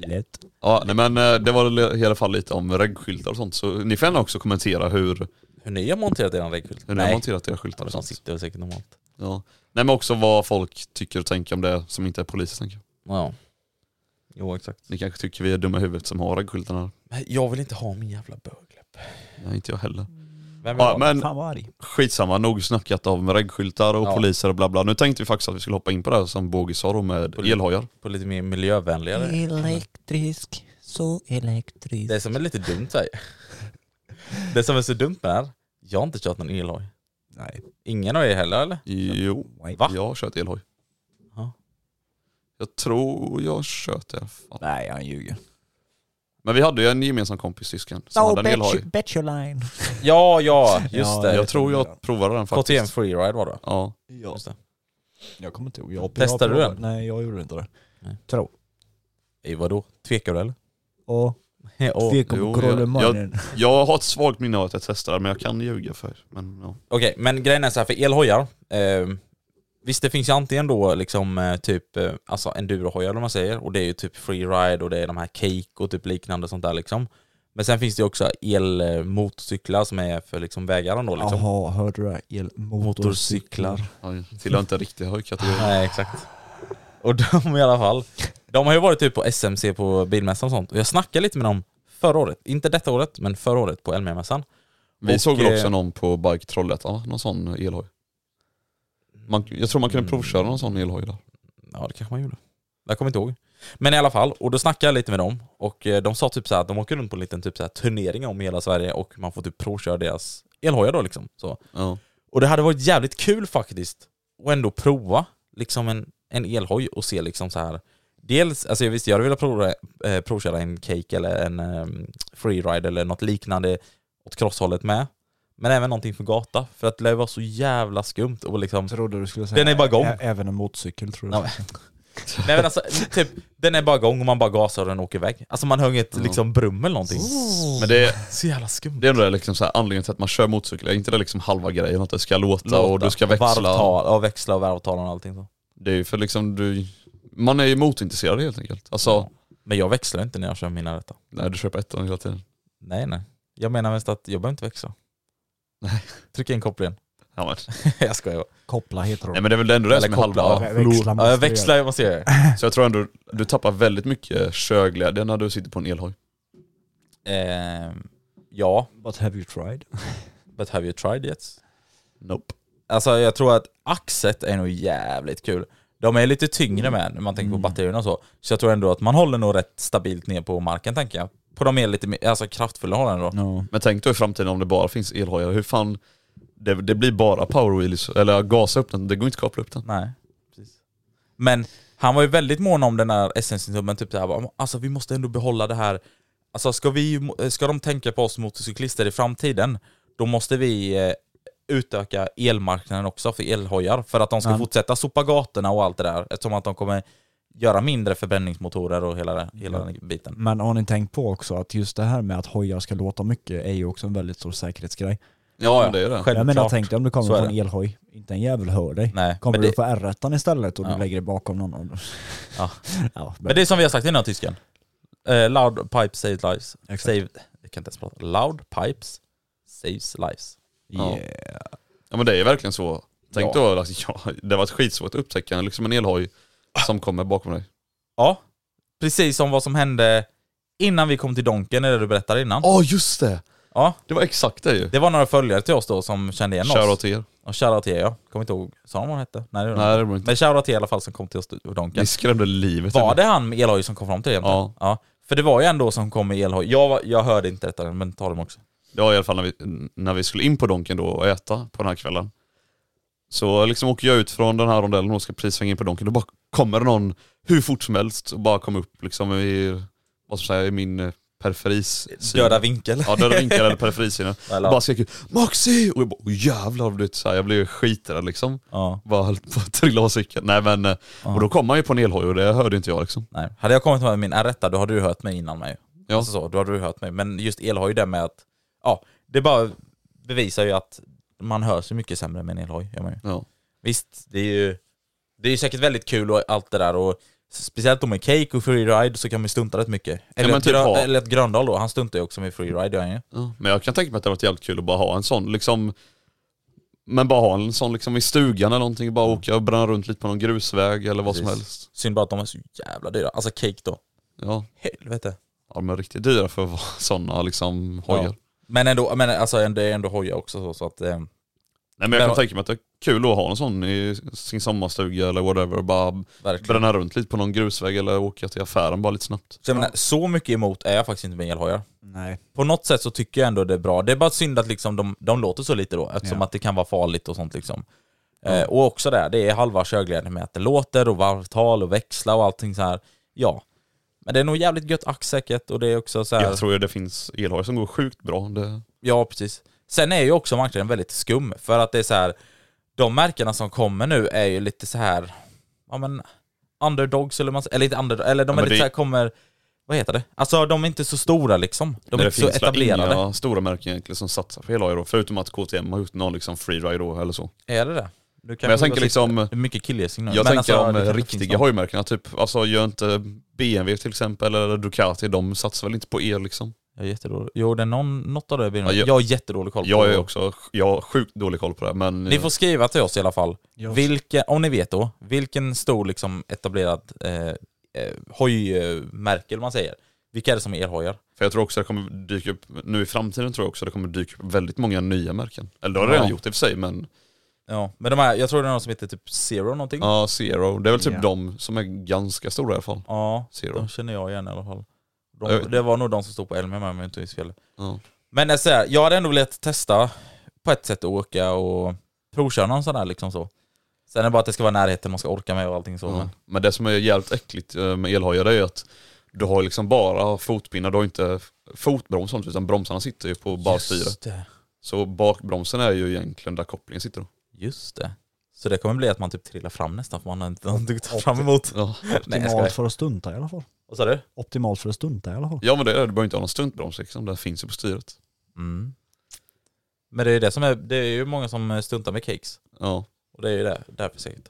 Lätt. Ja, nej men eh, det var väl i alla fall lite om reggskyltar och sånt. Så ni får gärna också kommentera hur, Hur ni har monterat eran väggskylt? hur ni har monterat era skyltar Ja, de och sånt. sitter väl säkert normalt. Ja. Nej men också vad folk tycker och tänker om det som inte är poliser tänker jag. Ja. Jo, exakt. Ni kanske tycker vi är dumma i huvudet som har reggskyltarna här. Men jag vill inte ha min jävla bögläpp. Nej inte jag heller. Vem vill Ja, ha den? men Fan vad arg. skitsamma, nog snackat om reggskyltar och Ja. poliser och bla bla. Nu tänkte vi faktiskt att vi skulle hoppa in på det här som Bogis sa då med Poli- elhojar. På lite mer miljövänligare. Elektrisk så elektriskt. Det som är lite dumt här, det som är så dumt med det här, jag har inte kört någon elhoj. Nej. Ingen av er heller eller? Jo, Va? jag har kört elhoj. Ja. Jag tror jag har kört det i alla fall. Nej, han ljuger. Men vi hade ju en gemensam kompis, tysken, som No, hade en elhoj. bet, bet your line. Ja, ja, just Ja, det. Jag tror jag provade den faktiskt. KTM Freeride var det Ja. Ja. Just det. Jag kommer inte ihåg. Jag, Testade jag, du jag, Nej, jag gjorde inte det. Nej. Tror. Ej, vadå? Tvekar du eller? Och Och- tvek om jo, grolemannen. Jag har ett svagt minne av att jag testade, men jag kan ljuga för. Men, ja. Okej, men grejen är så här för elhojar. Eh, visst, det finns ju antingen då liksom eh, typ eh, alltså endurohojar eller vad man säger. Och det är ju typ freeride och det är de här cake och typ liknande sånt där liksom. Men sen finns det ju också elmotorcyklar som är för liksom vägar ändå liksom. Jaha, hörde du det? Elmotorcyklar. Ja, jag tillhör inte riktigt höjdkategorin. Nej, exakt. Och de i alla fall, de har ju varit typ på SMC på bilmässan och sånt. Och jag snackade lite med dem förra året, inte detta året, men förra året på Elmia-mässan. Vi Och, såg väl eh, också någon på Bike Trollhättan, va? någon sån elhoj. Man, jag tror man kunde provköra någon sån elhoj där. Ja, det kanske man gjorde. Jag kommer inte ihåg. Men i alla fall, och då snackade jag lite med dem och eh, de sa typ så här att de åker runt på en liten typ så här turnering om i hela Sverige och man får typ provköra deras elhojar då liksom. Så. Ja. Och det hade varit jävligt kul faktiskt att ändå prova liksom en, en elhoj och se liksom så här. Dels, alltså jag visste jag hade velat prova, eh, provköra en cake eller en eh, freeride eller något liknande åt crosshållet med. Men även någonting för gata, för att det lär vara så jävla skumt och liksom... Trodde du skulle säga Den är bara igång. ä- Även en motorcykel tror Ja, jag. Nej men alltså, typ, den är bara igång och man bara gasar och den åker iväg. Alltså man hör inget liksom brum eller någonting. Men det, Så jävla skumt. det är ändå det liksom så här, anledningen till att man kör motorcykel, är inte det liksom halva grejen? Att det ska låta, och du ska växla. Varvtal, ja, växla och varvtal och allting så. Det är ju för liksom du, man är ju motorintresserad helt enkelt. Alltså, Men jag växlar inte när jag kör mina detta. nej du kör på ettan hela tiden. Nej nej. Jag menar mest att jag behöver inte växla. Nej. Trycka in kopplingen. Ja, men. jag skojar bara. Koppla heter det. Nej men det är väl ändå det Eller som är halva. koppla, Vä- växla måste du Ja, jag ja. växlar, jag måste göra det. Så jag tror ändå du tappar väldigt mycket körglädje när du sitter på en elhoj. Ehm, ja, göra. But have you tried? but have you tried yet? Nope. Alltså jag tror att axet är nog jävligt kul. De är lite tyngre med när man tänker på batterierna och så. Så jag tror ändå att man håller nog rätt stabilt ner på marken tänker jag. På de mer lite mer, alltså kraftfulla hållen då. No. Men tänk då i framtiden om det bara finns elhojar, hur fan det, det blir bara power wheels, eller gasa upp den, det går inte att koppla upp den. Nej. Precis. Men han var ju väldigt mån om den här SN-syndromen, typ såhär, alltså vi måste ändå behålla det här. Alltså ska, vi, ska de tänka på oss motorcyklister i framtiden, då måste vi eh, utöka elmarknaden också för elhojar. För att de ska fortsätta sopa gatorna och allt det där, eftersom att de kommer göra mindre förbränningsmotorer och hela, det- hela den biten. Men har ni tänkt på också att just det här med att hojar ska låta mycket är ju också en väldigt stor säkerhetsgrej. Ja, ja. det är det. Självklart. Jag menar tänk dig om du kommer Så är från en elhoj, inte en jävel hör dig. Nej, Kommer men du det, på R1 istället och Ja. du lägger dig bakom någon annan? Ja. ja, men, men det är som vi har sagt innan tysken. Eh, loud pipe saves lives. Exakt. Save, jag kan inte ens prata. Loud pipes saves lives. Ja. yeah. Ja men det är verkligen så. Tänk Ja. då, alltså, ja, det var ett skitsvårt att upptäcka liksom en elhoj som kommer bakom dig. Ja, precis som vad som hände innan vi kom till Donken, eller det du berättade innan. Ja just det! Ja, Det var exakt det ju. det var några följare till oss då som kände igen Shoutout oss. till er. Och shoutout till er, ja. Kommer inte ihåg, sa de vad han hette? Nej, det gjorde de Nej inte. det var inte. Men shoutout till er i alla fall som kom till oss till Donken. Ni skrämde livet ur Var mig. det han med elhoj som kom fram till er? egentligen? Ja. ja. För det var ju ändå som kom med elhoj. Jag, var- jag hörde inte detta, men ta dem också. Det var i alla fall när vi, när vi skulle in på Donken då och äta på den här kvällen. Så liksom åker jag ut från den här rondellen och ska precis svänga in på Donken. Då bara kommer det någon hur fort som helst och bara kom upp liksom i, vad ska jag säga, i min eh, periferis. Döda vinkel. Ja, döda vinkar eller periferisynen. Och Eller- bara skrek ut, Maxi! Och jag bara, "Åh, jävlar du vet, så här, jag blev ju skiträdd liksom. Ja, Bara höll på att trilla av cykeln. Nej men, eh, och då kom man ju på en elhoj och det hörde inte jag liksom. nej. Hade jag kommit med min R1, då hade du hört mig innan mig. Ja. Alltså så, då hade du hört mig. Men just elhoj, det med att, ja, det bara bevisar ju att man hör så mycket sämre med en elhoj. Gör man ju. Ja. Visst, det är ju det är ju säkert väldigt kul och allt det där och speciellt om med cake och freeride så kan man stunta rätt mycket. Eller, men ett, typ Grö- ha- eller ett Gröndal då, han stuntar ju också med freeride gör han ju. Ja. Men jag kan tänka mig att det hade varit jävligt kul att bara ha en sån liksom men bara ha en sån liksom i stugan eller någonting, bara åka och bränna runt lite på någon grusväg eller vad som Precis. helst. Synd bara att de är så jävla dyra. Alltså cake då, Ja, helvete. ja de är riktigt dyra för att vara sådana liksom hojar. Men ändå, men alltså det är ändå hoja också så, så att eh, Nej men jag Men- kan tänka mig att det är kul att ha en sån i sin sommarstuga eller whatever och bara Verkligen. bränna runt lite på någon grusväg eller åka till affären bara lite snabbt. Så, jag menar, så mycket emot är jag faktiskt inte med elhojar. Nej. På något sätt så tycker jag ändå det är bra. Det är bara synd att liksom de, de låter så lite då, eftersom Ja. att det kan vara farligt och sånt. Liksom. Eh, och också det, här, det är halva körglädjen med att det låter och varvtal och växla och allting så här. Ja. Men det är nog jävligt gött aktsäcket och det är också så här, Jag tror ju det finns elhojar som går sjukt bra. Det, Ja, precis. Sen är ju också marknaden väldigt skum, för att det är så här, de märkena som kommer nu är ju lite så här, ja men, underdogs eller man eller lite under, eller de är Ja, men lite det- så här, kommer, vad heter det? Alltså de är inte så stora liksom. De är det inte så finns väl etablerade. inga stora märken egentligen som satsar på elhojar då, förutom att KTM har gjort någon liksom freeride då eller så. Är det det? Du kan Men googla jag tänker sitt- liksom- Det är mycket killgissning nu. Jag Men tänker alltså, det om kanske finns riktiga någon- hojmärkena, typ, alltså gör inte BMW till exempel eller Ducati, de satsar väl inte på el liksom? Jag är jättedålig. Jo, det är någon, något av det blir Ja, jag... jag- jag har jättedålig koll på Jag är också, jag har sjukt dålig koll på det men... Ni får skriva till oss i alla fall. Ja. Vilken, om ni vet då, vilken stor liksom etablerad eh, eh, hojmärke, eller vad man säger. Vilka är det som är elhojar? För jag tror också det kommer dyka upp, nu i framtiden tror jag också det kommer dyka upp väldigt många nya märken. Eller det har det Ja. redan gjort i och för sig men, Ja, men de här, jag tror det är någon som heter typ Zero någonting. Ja, ja Zero, det är väl typ Ja. de som är ganska stora i alla fall. Zero. de känner jag igen i alla fall. Jag De, vet- det var nog de som stod på Elmia med om jag inte minns fel. Ja. Men jag, säger, jag hade ändå velat testa på ett sätt att åka och provköra någon sån här liksom så. Sen är det bara att det ska vara närheten man ska orka med och allting så. Ja. Men, Men det som är jävligt äckligt eh, med elhojar det är ju att du har liksom bara fotpinnar, du har inte fotbroms och sånt utan bromsarna sitter ju på bara styret. just det, Så bakbromsen är ju egentligen där kopplingen sitter då. just det. Så det kommer bli att man typ trillar fram nästan för man har inte någonting att ta fram emot. Ja, Nej, jag Optimalt skojar. för att stunta i alla fall. Vad sa du? Optimalt för att stunta i alla fall. ja men det är det, du behöver inte ha någon stuntbroms liksom, den finns ju på styret. Mm. Men det är det som är, det är ju många som stuntar med cakes. Ja. Och det är ju det, därför säkert.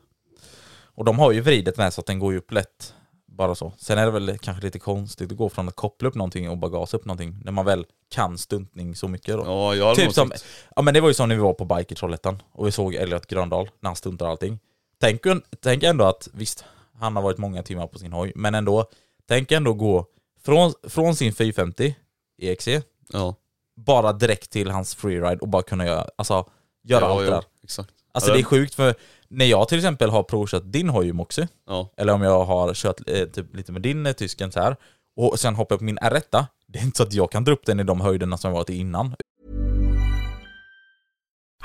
Och de har ju vridet med så att den går ju upp lätt. Bara så. Sen är det väl kanske lite konstigt att gå från att koppla upp någonting och bara gasa upp någonting. När man väl kan stuntning så mycket då. Ja, jag hade typ nog som, tyckt- ja men det var ju som när vi var på Bike i Trollhättan och vi såg Elliot Gröndal när han stuntar allting. Tänk, tänk ändå att, visst, han har varit många timmar på sin hoj, men ändå. Tänk ändå gå från, från sin 450 EXE ja. bara direkt till hans freeride och bara kunna göra, alltså, göra ja, allt det ja, där. Exakt. Alltså Ja, det är den- sjukt för när jag till exempel har provkört din hoj Moxie, Ja. eller om jag har kört eh, typ lite med din eh, tysken så här, och sen hoppar jag på min R1, det är inte så att jag kan dra upp den i de höjderna som jag varit i innan.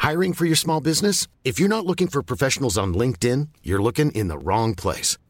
Hiring for your small business? If you're not looking for professionals on LinkedIn, you're looking in the wrong place.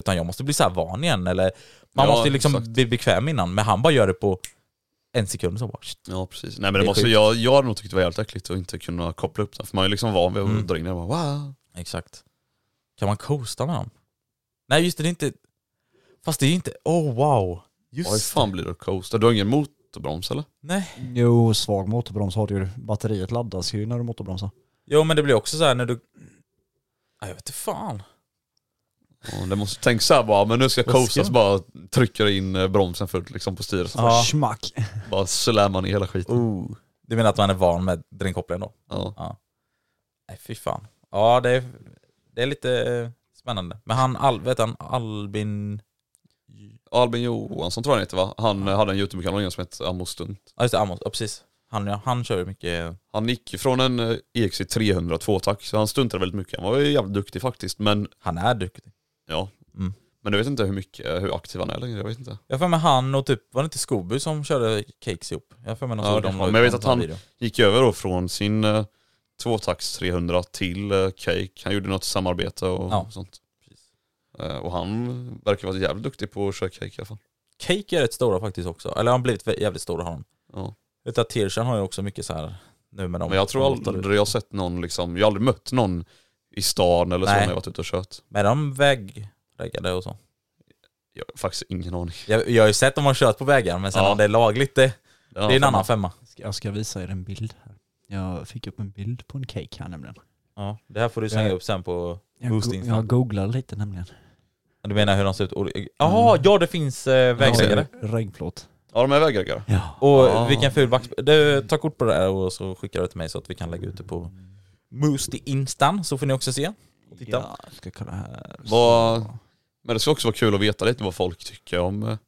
Utan jag måste bli så här van igen eller man Ja, måste ju liksom exakt. bli bekväm innan. Men han bara gör det på en sekund så bara, shit. Ja precis. Nej men Det det är måste, sjukt. jag, jag hade nog tyckt det var jävligt äckligt att inte kunna koppla upp den. För man är ju liksom van vid att Mm. dra in den och bara wow. Exakt. Kan man coasta med dem? Nej just det, det är inte... Fast det är inte... Oh wow! Just Vad fan blir det att coasta? Du har ingen motorbroms eller? Nej. Jo, svag motorbroms har du ju. Batteriet laddas ju när du motorbromsar. Jo men det blir också så här när du... Nej, jag vet inte fan. Ja, det måste tänka såhär bara, men nu ska Vad jag ska coasta jag? så bara trycker jag in eh, bromsen fullt liksom på styret. Så Ja. Schmack. Bara slammar ner hela skiten. Oh. Du menar att man är van med dränkopplingen då? Ja. Nej fy fan. Ja det är, det är lite eh, spännande. Men han, Al, vet han, Albin... Albin Johansson tror jag han heter va? Han eh, hade en YouTube-kanal innan som hette Ammo Stunt. Ja just det, Amos, ja, precis. Han, ja, han kör ju mycket... Han gick ju från en eh, EXC 300 tvåtakt, så han stuntade väldigt mycket. Han var ju jävligt duktig faktiskt, men Han är duktig. ja. Mm. Men du vet inte hur mycket, eh, hur aktiv han är längre, jag vet inte. Jag har för mig han och typ, var det inte Scooby som körde cakes ihop? Jag har för mig någon Ja, såg det dem la kan vara. ut Men jag vet någon att sån han- video. gick över då från sin eh, tvåtakts 300 till eh, Cake. Han gjorde något samarbete och Ja. sånt. Eh, Och han verkar vara jävligt duktig på att köra Cake i alla fall. Cake är rätt stora faktiskt också, eller han har blivit vä- jävligt stor honom. Ja. Vet att Tirsen har ju också mycket så här nu med dem. Men jag tror som låtar ut. aldrig jag har sett någon liksom, jag har aldrig mött någon i stan eller så Nej. när jag varit ute och kört. Men de vägräggade och så. Jag har faktiskt ingen aning. Jag, jag har ju sett dem har kört på vägar, men sen Ja. om det är lagligt det, Det är det är en annan femma. Ska- Jag ska visa er en bild här. Jag fick upp en bild på en cake här nämligen. Ja, det här får du slänga Ja. upp sen på... Jag, Boosting go- jag googlade lite nämligen. Du menar hur de ser ut? Oli- Jaha, ja det finns eh, vägräggare. Ja, Regnplåt. Ja de är vägräggare. Ja. Och Ja. vilken ful back... Du, ta kort på det där och så skickar du till mig så att vi kan lägga ut det på Moose till Instan, så får ni också se. Och titta. Ja, jag ska kolla här. Vad- Men det ska också vara kul att veta lite vad folk tycker om eh,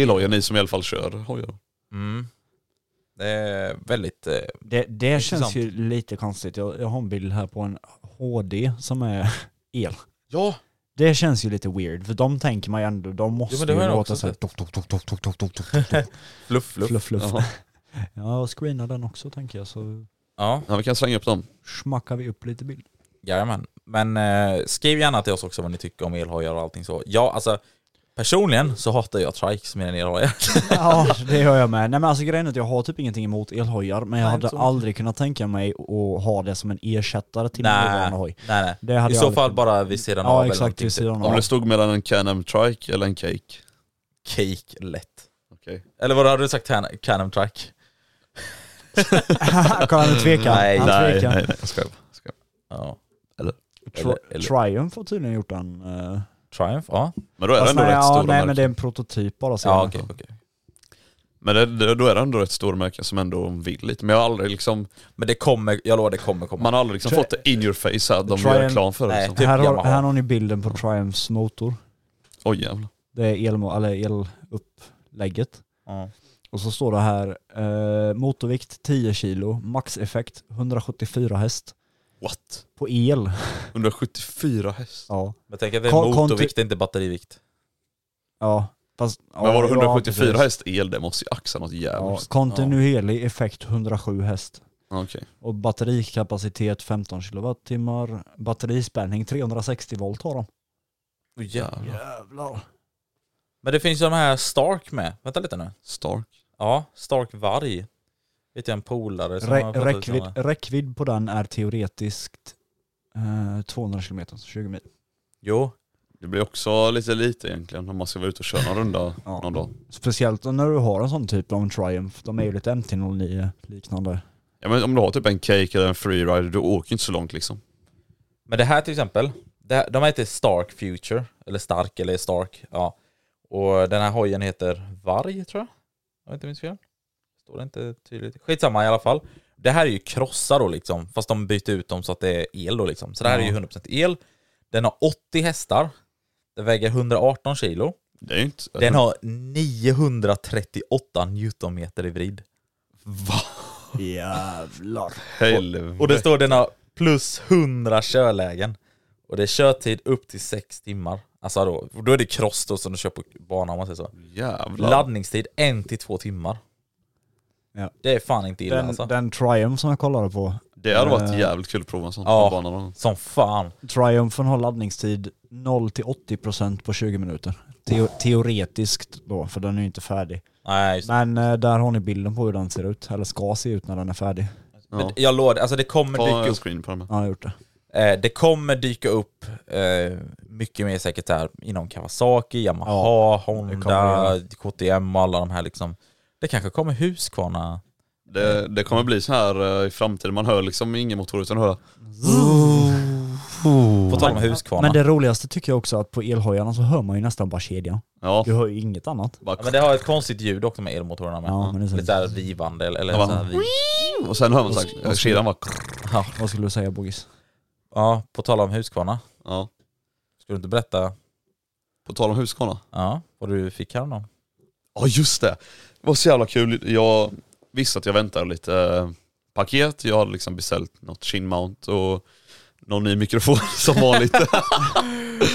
elhojen, ni som i alla fall kör hojar. Mm. Det är väldigt... Eh, Det, det Intressant. känns ju lite konstigt. Jag, jag har en bild här på en HD som är el. ja! Det känns ju lite weird, för de tänker man ju ändå, de måste men det har ju jag låta också såhär... sett. Doff, doff, doff, doff, doff, doff, doff, doff, doff, doff, Fluff, fluff. Fluff, fluff. Jaha. Ja, jag screenar den också tänker jag, så Ja, Ja vi kan slänga upp dem. smackar vi upp lite bild. jajamän. Men eh, skriv gärna till oss också vad ni tycker om elhojar och allting så. Ja, alltså personligen så hatar jag trikes mer än elhojar. Ja, det gör jag med. Nej men alltså grejen är att jag har typ ingenting emot elhojar, men jag Nej, hade så. aldrig kunnat tänka mig att ha det som en ersättare till min nej, nuvarande nej, hoj. nej. Det hade I jag så aldrig fall kunnat. bara vid sidan av Ja eller exakt, någonting, typ. vid sidan Om av. det stod mellan en Can-Am Trike eller en Cake. Cake lätt. Okej. Eller vad hade du sagt? Can- Canem track? Kolla han tvekar, Nej, han Nej, tvekar. nej, nej, jag skojar. Jag skojar. Tri- Ja. Eller- eller- Triumph har tydligen gjort en... eh, Triumph? Ja. Men då är det fast ändå nej, rätt ja, stora nej men märken. det är en prototyp bara ser Ja jag. okej, okej. Men det, det, då är det ändå rätt stora märken som ändå vill lite. Men jag har aldrig liksom, Men det kommer, jag lovar det kommer komma. man har aldrig liksom Try- fått det in your face här, de Try gör and- reklam för det. Nej. Liksom. Typ här, har, Yamaha. här har ni bilden på Triumphs motor. Oj jävlar. Det är elmo- eller elupplägget. Ja. Och så står det här eh, motorvikt 10 kilo, maxeffekt 174 häst What? på el. 174 häst. Ja. Men tänk att det är Kon- konti- motorvikt, inte batterivikt. Ja, fast... Ja, men var det ja, 174 precis. häst el, det måste ju axa något Ja, jävligt. kontinuerlig effekt 107 häst. Ja. Okej. Och batterikapacitet 15 kilowattimmar. Batterispänning 360 volt har de. Oh, jävlar. Jävlar. Men det finns ju de här Stark med. Vänta lite nu. Stark. Ja, Stark Varg. Vet jag en polare som har Rä- fått ut räckvidd, såna. räckvidd på den är teoretiskt eh, 200 kilometer, så 20 mil. Jo, Det blir också lite lite egentligen om man ska vara ute och köra någon runda Ja. någon dag. Speciellt när du har en sån typ av en Triumph. De är ju lite MT-09 liknande. Ja, men om du har typ en cake eller en freerider, du åker ju inte så långt liksom. men det här till exempel. Det här, de heter Stark Future. Eller Stark eller Stark. Ja. Och den här hojen heter Varg tror jag. Om jag inte minns fel. Står det inte tydligt. Skitsamma i alla fall. Det här är ju krossar då liksom. Fast de byter ut dem så att det är el då liksom. Så det här är ju 100% el. Den har 80 hästar. Den väger 118 kilo. Det är ju inte... Den har 938 newtonmeter i vrid. Jävlar. Helvete. Och det står den har plus 100 körlägen. Och det är körtid upp till 6 timmar. Alltså då, och då är det cross då som du kör på banan om man säger så. Jävlar. Laddningstid 1 till 2 timmar. Ja. Det är fan inte illa Den, alltså. den Triumph som jag kollade på. Det hade varit Eh, jävligt kul att prova en sån ja. på banan. någon Som fan. Triumphen har laddningstid 0 till 80% på 20 minuter. Teo Teoretiskt då, för den är ju inte färdig. Nej, just det. Men eh, där har ni bilden på hur den ser ut, eller ska se ut när den är färdig. Men jag lovar, alltså det kommer gång. Ta dyka en upp screen på den med. Ja, jag har gjort det. Eh, det kommer dyka upp eh, mycket mer säkert här inom Kawasaki, Yamaha, Ja, det kommer Honda, KTM och alla de här liksom. Det kanske kommer Husqvarna. Det, det kommer bli så här eh, i framtiden, man hör liksom ingen motor utan hör På tal om Husqvarna. Men det roligaste tycker jag också att på elhojarna så hör man ju nästan bara kedjan. Ja, Du hör ju inget annat. bara, Ja, men det har ett konstigt ljud också med elmotorerna med. Ja, men det är så. Lite såhär vivande eller, eller Ja, så här vi... och sen hör man så här, eh, kedjan bara ja. Vad skulle du säga Bogis? ja, på tal om Husqvarna. Ja, Ska du inte berätta på tal om Husqvarna. ja, vad du fick häromdagen? Ja just det, det var så jävla kul. Jag visste att jag väntade lite eh, paket, jag hade liksom beställt något chin mount och någon ny mikrofon som vanligt.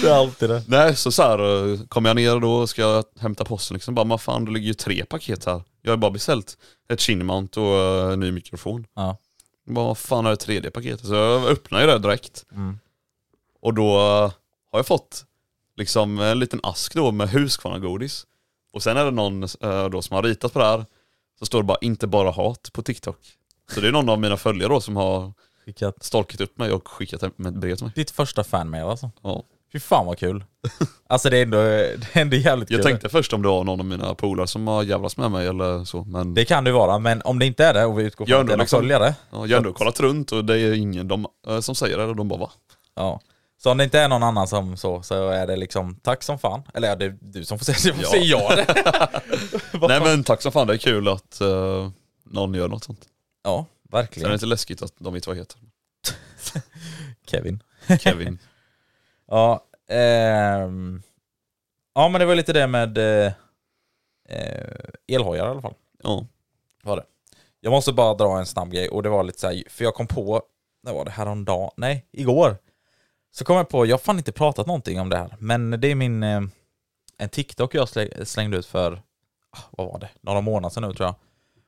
Det är alltid det. Nej så, så här eh, kom jag ner då ska jag hämta posten liksom, bara men fan det ligger ju tre paket här. Jag har bara beställt ett chin mount och eh, en ny mikrofon. Ja. Vad fan är det tredje paketet? Så jag öppnar ju det direkt. Mm. Och då eh, har jag fått liksom en liten ask då med Husqvarna-godis. Och sen är det någon eh, då som har ritat på det här, så står det bara inte bara hat på TikTok. Så det är någon av mina följare då som har Skickat. stalkat upp mig och skickat hem ett brev till mig. Ditt första fanmail alltså. Ja. Fy fan vad kul. Alltså det är ändå, det är ändå jävligt Jag kul. tänkte först om det var någon av mina polare som har jävlas med mig eller så, men Det kan det ju vara, men om det inte är det och vi utgår Gör från att ändå det är någon liksom- följare. ja, jag har ändå kollat runt och det är ingen de, eh, som säger det, de bara va? Ja. Så om det inte är någon annan som så, så är det liksom tack som fan. Eller ja, det är du som får säga det, Ja. ja. säger jag det. Nej men tack som fan, det är kul att eh, någon gör något sånt. Ja, Sen är det verkligen. inte läskigt att de vet vad jag heter. Kevin. Kevin. Ja, ehm. ja men det var lite det med eh, eh, elhojar i alla fall. ja. var det. Jag måste bara dra en snabb grej och det var lite så här, för jag kom på, när var det, häromdagen? Nej, igår. Så kom jag på, jag har fan inte pratat någonting om det här, men det är min, eh, en TikTok jag slä- slängde ut för, ah, vad var det, några månader sedan nu tror jag.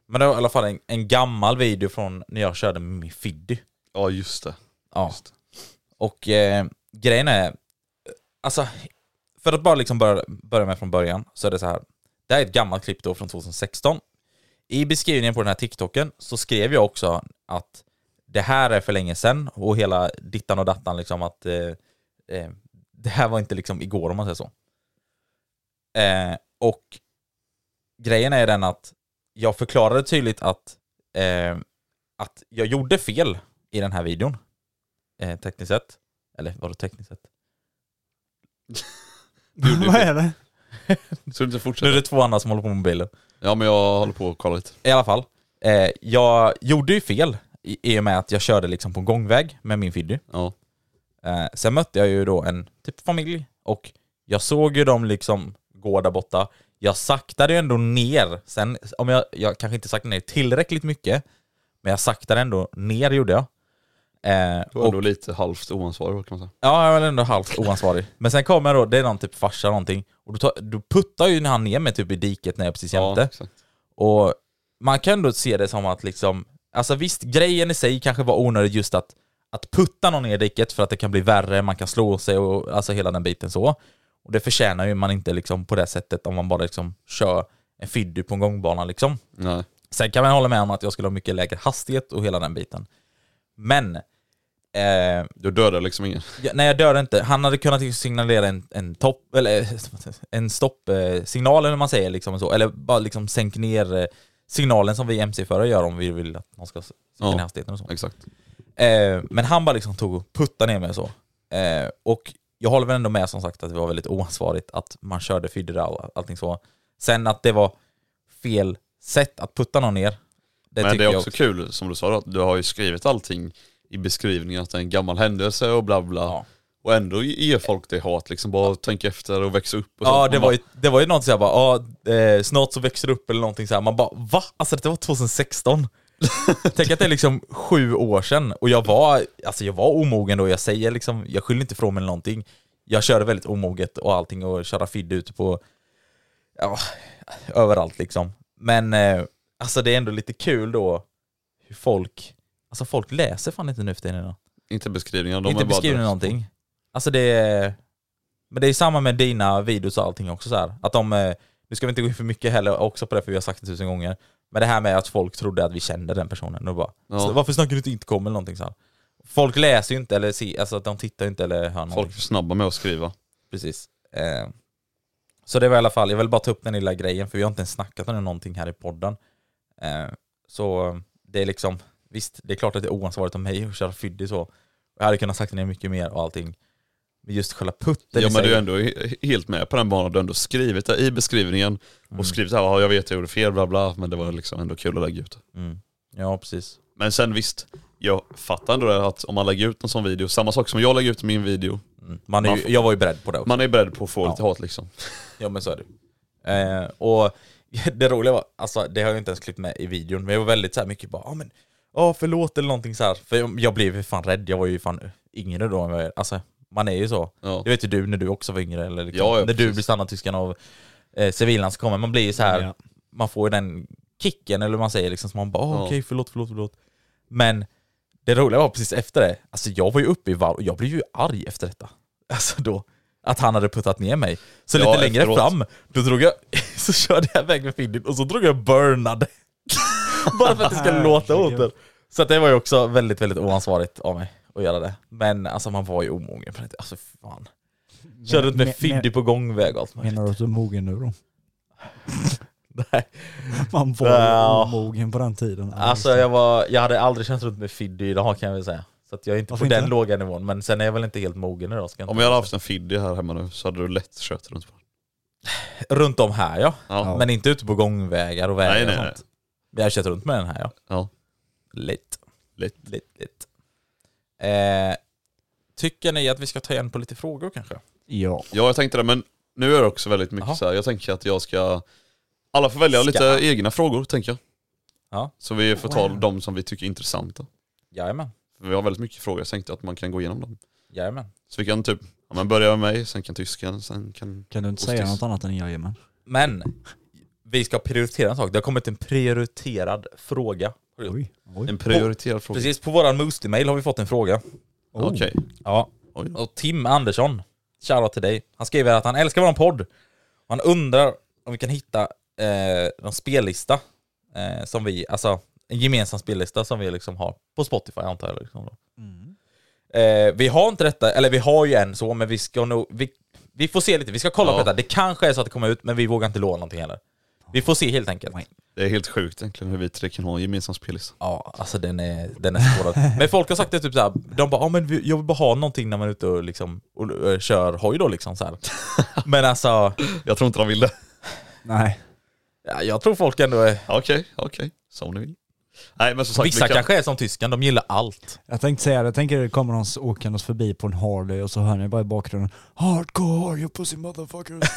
Men det var i alla fall en, en gammal video från när jag körde med min Fiddy. ja just det. Ja. Och eh, grejen är, alltså, för att bara liksom börja, börja med från början så är det så här. Det här är ett gammalt klipp då från 2016. I beskrivningen på den här TikToken så skrev jag också att det här är för länge sedan och hela dittan och dattan liksom att eh, eh, det här var inte liksom igår om man säger så. Eh, och grejen är den att jag förklarade tydligt att, eh, att jag gjorde fel i den här videon eh, tekniskt sett. Eller var det tekniskt sett? Vad är det? Så du inte Nu är fortsätta? det två andra som håller på med mobilen. Ja men jag håller på att kolla lite. I alla fall, eh, jag gjorde ju fel i, i och med att jag körde liksom på en gångväg med min Fiddy. Ja. Eh, sen mötte jag ju då en typ familj och jag såg ju dem liksom gå där borta. Jag saktade ju ändå ner. Sen, om jag, jag kanske inte saktade ner tillräckligt mycket, men jag saktade ändå ner gjorde jag. Eh, Du var ändå lite halvt oansvarig kan man säga. Ja, jag var väl ändå halvt oansvarig. Men sen kommer då, det är någon typ farsa någonting, och då, tar, då puttar ju han ner mig typ i diket när jag precis Ja, jämte. exakt. och man kan ändå se det som att liksom, alltså visst, grejen i sig kanske var onödig just att, att putta någon ner i diket för att det kan bli värre, man kan slå sig och alltså hela den biten så. Och det förtjänar ju man inte liksom på det sättet om man bara liksom kör en fiddy på en gångbana liksom. Nej. Sen kan man hålla med om att jag skulle ha mycket lägre hastighet och hela den biten. Men eh, Du dödar liksom ingen. Ja, nej jag dör inte. Han hade kunnat liksom signalera en, en topp, eller eh, en stoppsignal eller hur man säger liksom så. Eller bara liksom sänk ner eh, signalen som vi MC-förare gör om vi vill att någon ska s- sänka Ja. ner hastigheten och så. Exakt. Eh, men han bara liksom tog och puttade ner mig och så. Eh, och jag håller väl ändå med som sagt att det var väldigt oansvarigt att man körde fidder och allting så. Sen att det var fel sätt att putta någon ner. Det men tycker det är jag också, kul som du sa att du har ju skrivit allting i beskrivningen att det är en gammal händelse och bla bla. Ja. Och ändå ger folk det hat liksom, bara tänka efter och växa upp och sånt. Ja Man det bara, var, ju, det var ju något så jag bara, ja, eh, snart så växer det upp eller någonting så här. man bara va? Alltså det var 2016. Tänk att det är liksom sju år sedan och jag var, alltså jag var omogen då, jag säger liksom, jag skyller inte ifrån mig eller någonting. Jag körde väldigt omoget och allting och köra fidd ute på, ja, överallt liksom. Men eh, alltså det är ändå lite kul då hur folk, alltså folk läser fan inte nu för tiden idag Inte beskrivningar, de inte är bara beskriver någonting. Alltså det är... Men det är samma med dina videos och allting också så här. Att de... eh, Nu ska vi inte gå in för mycket heller också på det för vi har sagt det tusen gånger. Men det här med att folk trodde att vi kände den personen. Och bara, Ja. så, varför snackar du inte intercom eller någonting så här. Folk läser ju inte eller ser, alltså att de tittar ju inte eller hör någonting. Folk är snabba med att skriva. Precis. Eh, så det var i alla fall, jag vill bara ta upp den lilla grejen för vi har inte ens snackat om någonting här i podden. Eh, så det är liksom, visst det är klart att det är oansvarigt av mig att köra fiddy så. Jag hade kunnat sagt ner mycket mer och allting. Men just själva putten ja i men sig, du är ändå he- helt med på den banan, du har ändå skrivit det i beskrivningen Mm. och skrivit här, ja jag vet jag gjorde fel bla bla, men det var liksom ändå kul att lägga ut. Ja precis. Men sen visst, jag fattar ändå det att om man lägger ut en sån video, samma sak som jag lägger ut i min video, Man är Man ju, får- jag var ju beredd på det också. man är beredd på att få lite hat liksom. Ja men så är det. Eh, och det roliga var, alltså det har jag inte ens klippt med i videon, men jag var väldigt så här mycket bara, ja men, ja förlåt eller någonting så här. För jag, jag blev ju fan rädd, jag var ju fan yngre då än vad jag är. Alltså man är ju så. Ja. Det vet ju du när du också var yngre, eller liksom, Ja, ja, när du precis. blir stannad tyskan av eh, civilan så kommer man blir ju så här, Ja. man får ju den kicken eller vad man säger liksom, så man bara, "Åh, okej förlåt, förlåt, förlåt. Men Det roliga var precis efter det, alltså jag var ju uppe i varv och jag blev ju arg efter detta. Alltså då, att han hade puttat ner mig. Så Ja, lite längre efteråt. fram, då drog jag, så körde jag iväg med Findin och så drog jag burnad. Bara för att det ska låta åt den. Så att det var ju också väldigt, väldigt oansvarigt av mig att göra det. Men alltså man var ju omogen på det. Alltså fan. Körde runt men- med Fiddy på gångväg och allt möjligt. Menar du att du är mogen nu då? Nej. Man var Ja. ja. omogen på den tiden. Alltså jag, var, jag hade aldrig känt runt med Fiddy idag kan jag väl säga. Så att jag är inte Varför på den inte? låga nivån, men sen är jag väl inte helt mogen idag. Ska jag Om inte jag hade haft en Fiddy här hemma nu så hade du lätt kört runt på den. Runt om här ja. Ja. Men inte ute på gångvägar och vägar Nej, och nej, nej. sånt. Vi har kört runt med den här ja. Ja. Lite. Lite. Lite, lite. Eh, tycker ni att vi ska ta igen på lite frågor kanske? Ja. ja, jag tänkte det, men nu är det också väldigt Jaha. mycket så här. jag tänker att jag ska... Alla får välja Ska. lite egna frågor, tänker jag. Ja. Så vi får ta Wow. de som vi tycker är intressanta. Jajamän. För vi har väldigt mycket frågor, jag tänkte att man kan gå igenom dem. Jajamän. Så vi kan typ, ja men börja med mig, sen kan tysken, sen kan... Kan du inte Ostis. säga något annat än jajamän? Men vi ska prioritera en sak. Det har kommit en prioriterad fråga. Oj. Oj. En prioriterad fråga. Precis på våran Moostie-mail har vi fått en fråga. Oh. Okej. Ja, Oj då. och Tim Andersson, shoutout till dig. Han skriver att han älskar våran podd. Och han undrar om vi kan hitta eh, någon spellista eh, som vi, alltså en gemensam spellista som vi liksom har på Spotify antar jag. Liksom då. Eh, vi har inte detta, eller vi har ju en så, men vi ska nog, vi, vi får se lite, vi ska kolla på Ja. detta. Det kanske är så att det kommer ut, men vi vågar inte lova någonting heller. Vi får se helt enkelt. Det är helt sjukt egentligen hur vi tre kan ha en gemensam spellista. Ja, alltså den är, den är svår. men folk har sagt det typ såhär, de bara ah, men vi- jag vill bara ha någonting när man är ute och, liksom, och, eh, kör hoj då liksom så här. Men alltså, Jag tror inte de vill det. Nej. ja, jag tror folk ändå är... Okej, okej. Som ni vill. Nej men som sagt, Vissa vi kan... kanske är som tysken, de gillar allt. Jag tänkte säga det, jag tänker det kommer någon s- åkandes förbi på en Harley och så hör ni bara i bakgrunden Hardcore you pussy motherfuckers.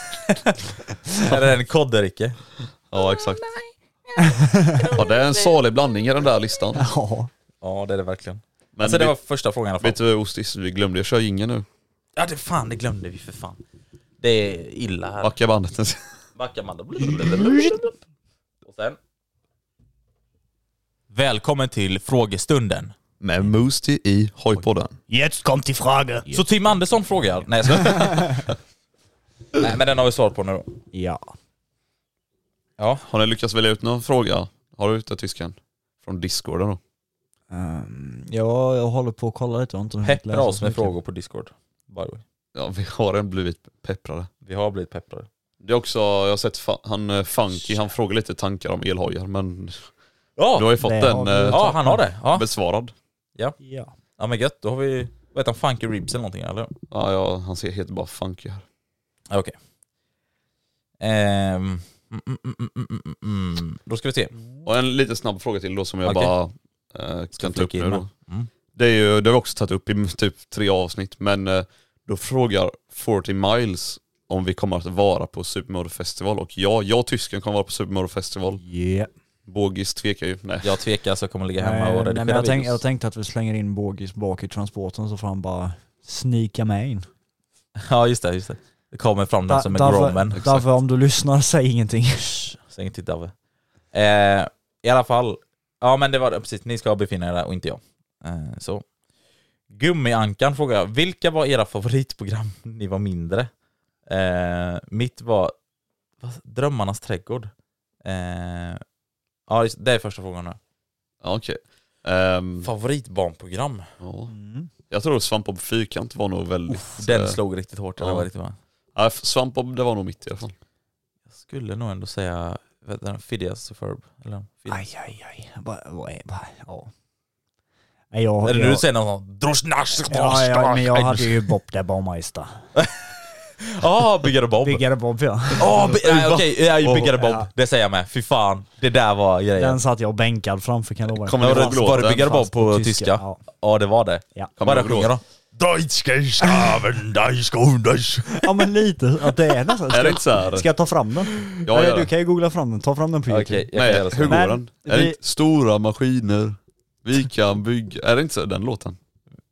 Här är en koddericke. Ja exakt. Ja det är en salig blandning i den där listan. ja. Ja det är det verkligen. Men alltså det vi- var första frågan i alla fall. Vet du Ostis, vi glömde jag köra ingen nu. Ja det fan, det glömde vi för fan. Det är illa här. Backa bandet. Backar man då. Och sen. Välkommen till frågestunden. Med Moostie i Hojpodden. Jetzt kommt die Frage. Så Tim Andersson frågar. Nej, jag skojar. Nej, men den har vi svarat på nu då. Ja. Ja. Har ni lyckats välja ut någon fråga? Har du ute tysken? Från discorden då? Ehm, ja, jag håller på att kolla lite. Jag har inte hunnit Peppra läsa oss så med mycket. frågor på Discord. By the way. Ja vi har en blivit pepprade. Vi har blivit pepprade. Det är också, jag har sett fa- han eh, Funky, han frågar lite tankar om elhojar men du har Ja, ju fått det den har vi. eh, ja han har det. Ja. besvarad. Ja. ja, men gött. Då har vi, vad heter han, Funky Ribs eller någonting eller? Ja, ja han ser helt bara Funky här. Ja, Okej. Ehm, mm, mm, mm, mm, mm, mm. Då ska vi se. Och en lite snabb fråga till då som jag Okej. bara eh, Ska kan ta upp flika in nu med. då. Mm. Det, är ju, det har vi också tagit upp i typ tre avsnitt, men eh, då frågar 40 Miles om vi kommer att vara på Supermodel Festival och ja, jag och tysken kommer vara på Supermodel Festival. Yeah. Bågis tvekar ju. Nej. Jag tvekar så jag kommer ligga hemma Nej, nej, och redigera men jag, tänk, videos. jag tänkte att vi slänger in Bågis bak i transporten så får han bara snika med in. Ja, just det. Just det. det kommer fram den Da- som är därför, grown därför om du lyssnar, säg ingenting. Säg inte till Dave. Eh, I alla fall. Ja men det var det, precis. Ni ska befinna er där och inte jag. Eh, så. Gummiankan frågar jag. Vilka var era favoritprogram när ni var mindre? Eh, mitt var vad, Drömmarnas trädgård. Eh, ja just- det är första frågan nu. Ja, okej. Ehm, Favoritbarnprogram. ja. Mm. Jag tror Svampbob Fyrkant var nog väldigt... Den eh, slog riktigt hårt. Det ja. var riktigt bra. ja, F- Svampbob det var nog mitt i alla fall. Jag skulle nog ändå säga vet du, Phidias Superb. Eller Phidias. Aj, aj, aj. Vad- vad är- vad- Ja. Nej, jag, Eller jag, du säger något sånt. Droschnasch, ja, ja, men jag droschnasch. hade ju Bob där Baumeister. Ja, Byggare Bob. Byggare Bob ja. Åh, oh, nej okej, jag byggare Åh, Bob. ja. Det säger jag med. Fy fan, det där var grejen. Den satt jag bänkad framför kan jag lova. dig. Kommer ni ihåg Fast- låten? var det byggare Bob fast på tyska? Ja, Ja. det var det. Ja. Vad är det Kommer du sjunger då? Deutsche Schaven, Deutsche Hundes. ja men lite, att det är nästan. Är det Ska, inte så här? ska jag ta fram den? Ja, Nej, ja. du kan ju googla fram den, ta fram den på youtube. Okej, jag kan Nej, göra hur så. går Men den? Är det vi- inte stora maskiner, vi kan bygga... Är det inte så den låten?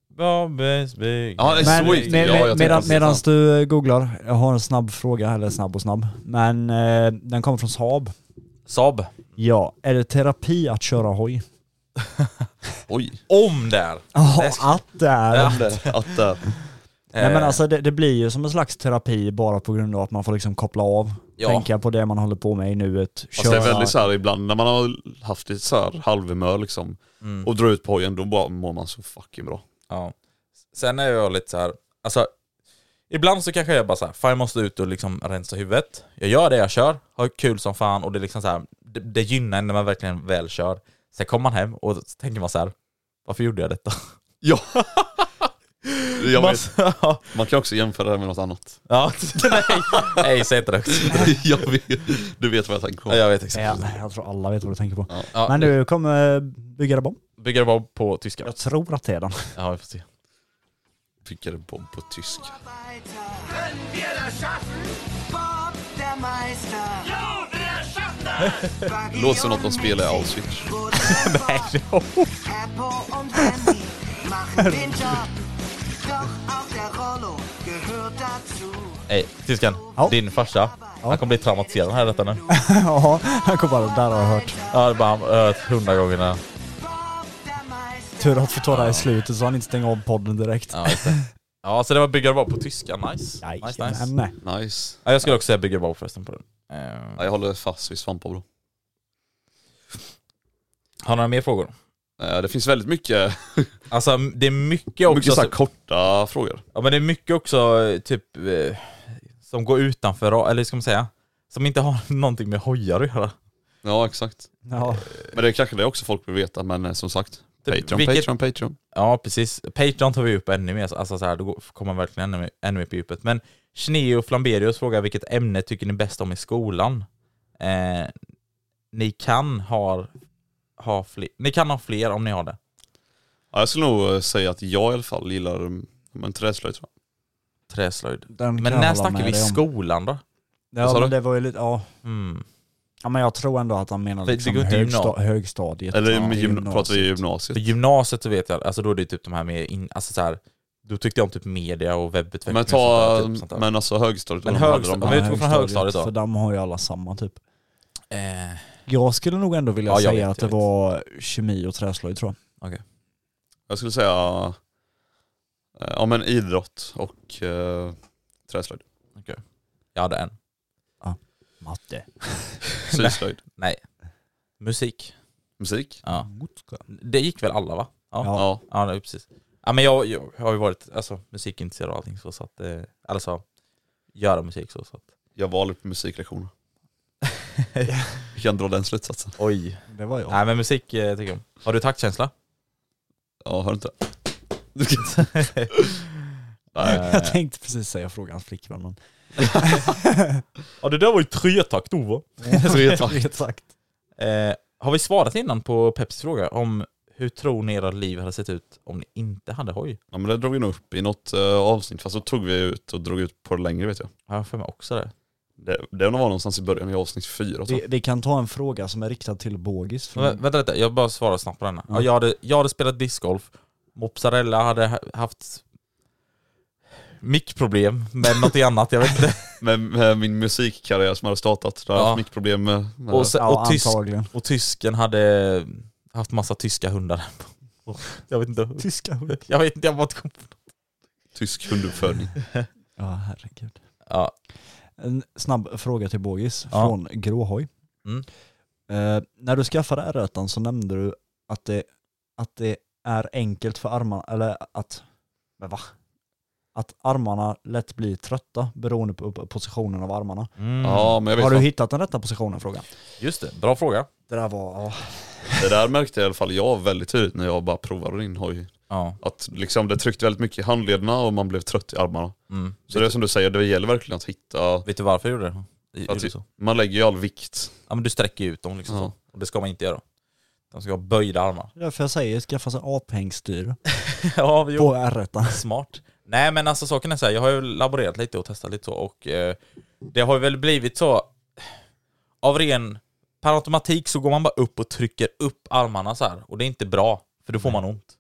Bobbes byggare. Ja, det är Men så inte. med, Ja, jag med, tänkte medan, precis medan samma. du eh, googlar, jag har en snabb fråga, eller snabb och snabb. Men eh, den kommer från Saab. Saab. Ja, är det terapi att köra hoj? Oj. Om där! Ja, Nej, sk- att det är. Ja. Att där. Nej men Eh, alltså det, det blir ju som en slags terapi bara på grund av att man får liksom koppla av, Ja. tänka på det man håller på med i nuet, Alltså det är köra. väldigt så här ibland när man har haft ett så här halvhumör liksom Mm. och drar ut på hojen, då bara mår man så fucking bra. Ja. Sen är jag lite så här, alltså ibland så kanske jag bara så här, fan jag måste ut och liksom rensa huvudet. Jag gör det jag kör, har kul som fan och det är liksom så här, det, det gynnar en när man verkligen väl kör. Sen kommer man hem och så tänker man så här, varför gjorde jag detta? Ja! Jag Man- vet, man kan också jämföra det här med något annat. ja, nej, nej, säg inte det högt. Jag vet, du vet vad jag tänker på. Ja, Jag vet Ja, exakt. jag tror alla vet vad du tänker på. Ja, Men du kommer eh, bygga det bomb? Bygger Bob på tyska. Jag tror att det är den. Ja, vi får se. Pickade bomb på tyska. Låter som något de spelar i Auschwitz. Ej, tyskan. Ja. Din farsa, han kommer bli traumatiserad här detta nu. ja, han kom bara, där har jag hört. Ja, det är bara han har hört hundra gånger nu. Tur att få ta det här i slutet så han inte stänger av podden direkt. Ja, just det. Ja, så det var Bygger Bob på tyska. Nice. Nice, nice. Jajamän. Nej. Nice. Ja, jag skulle också säga Bygger Bob förresten på den. Eh, Ja, jag håller fast vid svampar bro. Har ni några mer frågor? Eh, Det finns väldigt mycket, Alltså det är mycket också, mycket så här korta frågor. ja, men det är mycket också eh, typ eh, som går utanför, ra- eller hur ska man säga? Som inte har någonting med hojar att göra. Ja exakt. Ja. Men det är kanske det också folk vill veta, men eh, som sagt. Typ, Patreon, vilket- Patreon, Patreon. Ja precis, Patreon tar vi upp ännu mer, alltså så här, då går- kommer man verkligen ännu, mer- ännu mer på djupet. Men Schneo Flamberius frågar vilket ämne tycker ni bäst om i skolan? Eh, ni kan ha, ha fler, ni kan ha fler om ni har det. Ja, jag skulle nog eh, säga att jag i alla fall gillar mm, men träslöjd tror jag. Träslöjd. Den kan Men jag när hålla snackar med vi dig om. skolan då? Vad Ja sa men du? det var ju lite, ja. Mm. ja men jag tror ändå att han menar Det- det liksom går till högsta- gymna- högstadiet. Eller Ja, med gymna- gymnasiet. pratar vi För gymnasiet. gymnasiet så vet jag, alltså då är det typ de här med, in, alltså så här, då tyckte jag om typ media och webbutveckling Men och sånt ta, där, typ sånt där. men alltså högstadiet. Men vad de hade högsta- de om här. vi utgår från högstadiet då. För de har ju alla samma typ. Eh, Jag skulle nog ändå vilja Ja, jag säga vet, att det jag vet. var kemi och träslöjd tror jag. Jag skulle säga, eh, ja men idrott och eh, träslöjd. jag hade en. Matte. Syslöjd. Nej. Musik. Musik. Ja. Det gick väl alla va? Ja. Ja. Ja. Ja, nej, precis. Ja men jag, jag har ju varit alltså, musikintresserad och allting så, så att, eh, alltså göra musik så, så att. Jag var aldrig på musiklektioner. Jag kan dra den slutsatsen. Oj. Det var jag. Nej men musik eh, tycker jag om. Har du taktkänsla? Ja, hör du inte? Jag tänkte precis säga fråga hans flickvän men... ja det där var ju tretakt då va? Exakt. Eh, har vi svarat innan på Peps fråga om hur tror ni era liv hade sett ut om ni inte hade hoj? Ja men det drog vi nog upp i något eh, avsnitt, fast så tog vi ut och drog ut på det längre vet jag. Har jag för mig också det? Det, det var någonstans i början i avsnitt fyra. tror Vi, jag. vi kan ta en fråga som är riktad till Bogis. Från... Vä- vänta lite, jag bara svarar snabbt på den. här. Ja. Jag, hade, jag hade spelat discgolf, Mozzarella hade ha- haft mickproblem med något annat, jag vet inte. Med, med min musikkarriär som hade startat, där har jag Ja. haft mycket problem med, med Och, sen, ja, och, tysk, antagligen. och tysken hade haft massa tyska hundar. Jag vet inte. Tyska hund. Jag vet inte, jag bara inte kom på. tysk hunduppfödning. Ja herregud. Ja, En snabb fråga till Bogis Ja. från Gråhoj. Mm. Eh, när du skaffade r så nämnde du att det, att det är enkelt för armarna, eller att... Men va? Att armarna lätt blir trötta beroende på på positionen av armarna. mm. Ja men jag vet Har du fan, hittat den rätta positionen frågan? just det. Bra fråga. Det där var... ja. det där märkte jag i alla fall jag väldigt tydligt när jag bara provade in hoj. Ja. Att liksom det tryckte väldigt mycket i handlederna och man blev trött i armarna. Mm. Så det är som du säger, det gäller verkligen att hitta, Vet du varför jag gjorde det? Jag att gjorde så. man lägger ju all vikt. Ja men du sträcker ju ut dem liksom Ja. så. Och det ska man inte göra. De ska ha böjda armar. Det är därför jag säger skaffa sig aphängsstyr ja, vi på R1. Smart. Nej men alltså saken är så här, jag har ju laborerat lite och testat lite så och eh, det har väl blivit så av ren per automatik så går man bara upp och trycker upp armarna så här och det är inte bra för då får man ont.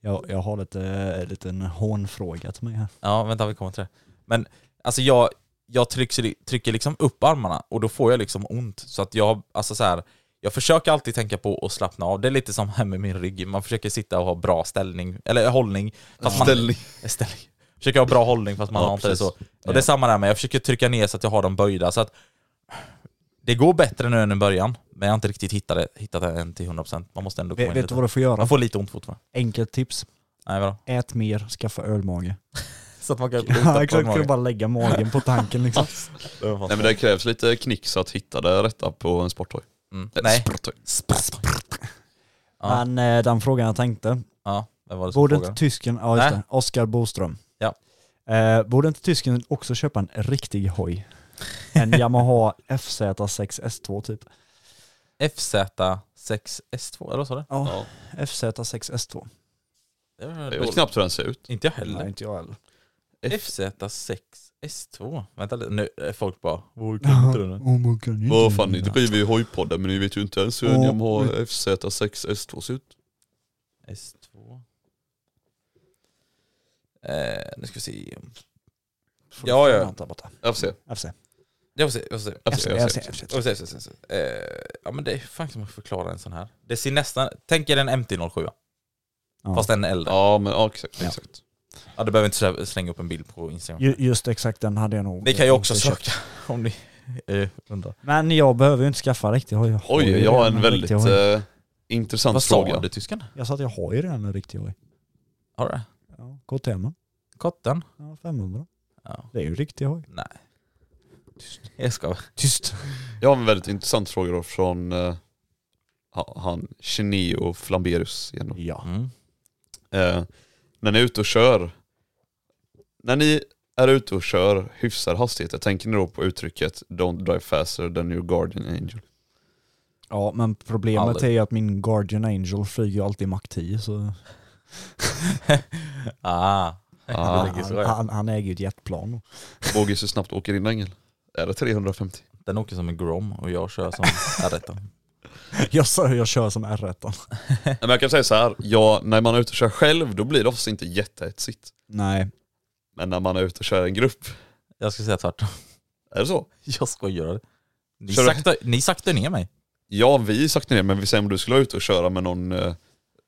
Jag, jag har lite eh, liten hånfråga till mig här. Ja vänta vi kommer till det. Men alltså jag, jag trycker, trycker liksom upp armarna och då får jag liksom ont så att jag, alltså så här, Jag försöker alltid tänka på att slappna av. Det är lite som här med min rygg. Man försöker sitta och ha bra ställning, eller hållning. Fast man, Ställning. ställning. Försöker ha bra hållning fast man Ja, har inte det så. precis. Och det är samma där med, jag försöker trycka ner så att jag har dem böjda. Så att det går bättre nu än i början, men jag har inte riktigt hittat det, hittat det än till 100%. Man måste ändå komma Vet, in vet du lite. vad du får göra? Man får lite ont fortfarande. Enkelt tips. Nej vadå? Ät mer, skaffa ölmage. Så att man kan Ja exakt, kan du bara lägga magen på tanken liksom. Nej men det krävs lite knix att hitta det rätta på en sporthoj. Mm. Ett Nej. sporthoj. Ja. Men eh, den frågan jag tänkte, Ja, vem var det som borde frågade? inte tysken, ja just Nej. det, Oskar Boström. Ja. Eh, borde inte tysken också köpa en riktig hoj? En Yamaha FZ6 S2 typ. FZ6S2, eller vad sa du? Ja, Ja. FZ6 S2. Det var- Jag vet knappt hur den ser ut. Inte jag heller. Nej, inte jag heller. FZ6S2. Vänta lite, nu är folk bara... Vår kultur. Oh my God, ni Vad inte fan, ni mina. driver ju hojpodden men ni vet ju inte ens hur en Ja. Yamaha FZ6 S2 ser ut. S2. Eh, nu ska vi se. Ja, ja. Där borta. FC. FC. Jag får se, jag får se. FC. FC. FC. Jag får se, jag får se, jag får se. Eh, ja men det är fan som att förklara en sån här. Det ser nästan... Tänk er en MT-07, Ja. fast den är äldre. Ja. Ja men ja, exakt. Ja. exakt. du behöver inte slä- slänga upp en bild på Instagram. Ju- Just exakt den hade jag nog. Ni kan ju också inte söka om ni eh, undrar. Men jag behöver ju inte skaffa riktig hoj. Oj, ju jag har redan en väldigt riktig hoj. eh, intressant Vad sa fråga. du tysken? Jag sa att jag har ju redan en riktig hoj. Har du det? Ja, KTM. Kotten? Ja, 500. Ja. Det är ju en riktig hoj. Nej. Jag ska Tyst. Jag har en väldigt intressant fråga då från eh, ha- han Geneo Flamberus igen då. Ja. mm. Eh, när ni är ute och kör, när ni är ute och kör hyfsar hastigheter, tänker ni då på uttrycket “Don't drive faster than your guardian angel”? Ja, men problemet Aldrig. är ju att min Guardian Angel flyger ju alltid Mach 10 så... ah. Ah. Det ligger så, han, ja. han, han äger ju ett jetplan. Vågar så snabbt åker in ängel? Är det 350? Den åker som en Grom och jag kör som R1. Jag sa ju jag kör som R1. Nej, men jag kan säga så här, ja, när man är ute och kör själv då blir det oftast inte jättehetsigt. Nej. Men när man är ute och kör i en grupp, Jag ska säga tvärtom. är det så? Jag skojar. Ni Kör du- saktar, ni saktar ner mig. Ja, vi saktar ner men vi säger om du skulle vara ute och köra med någon eh,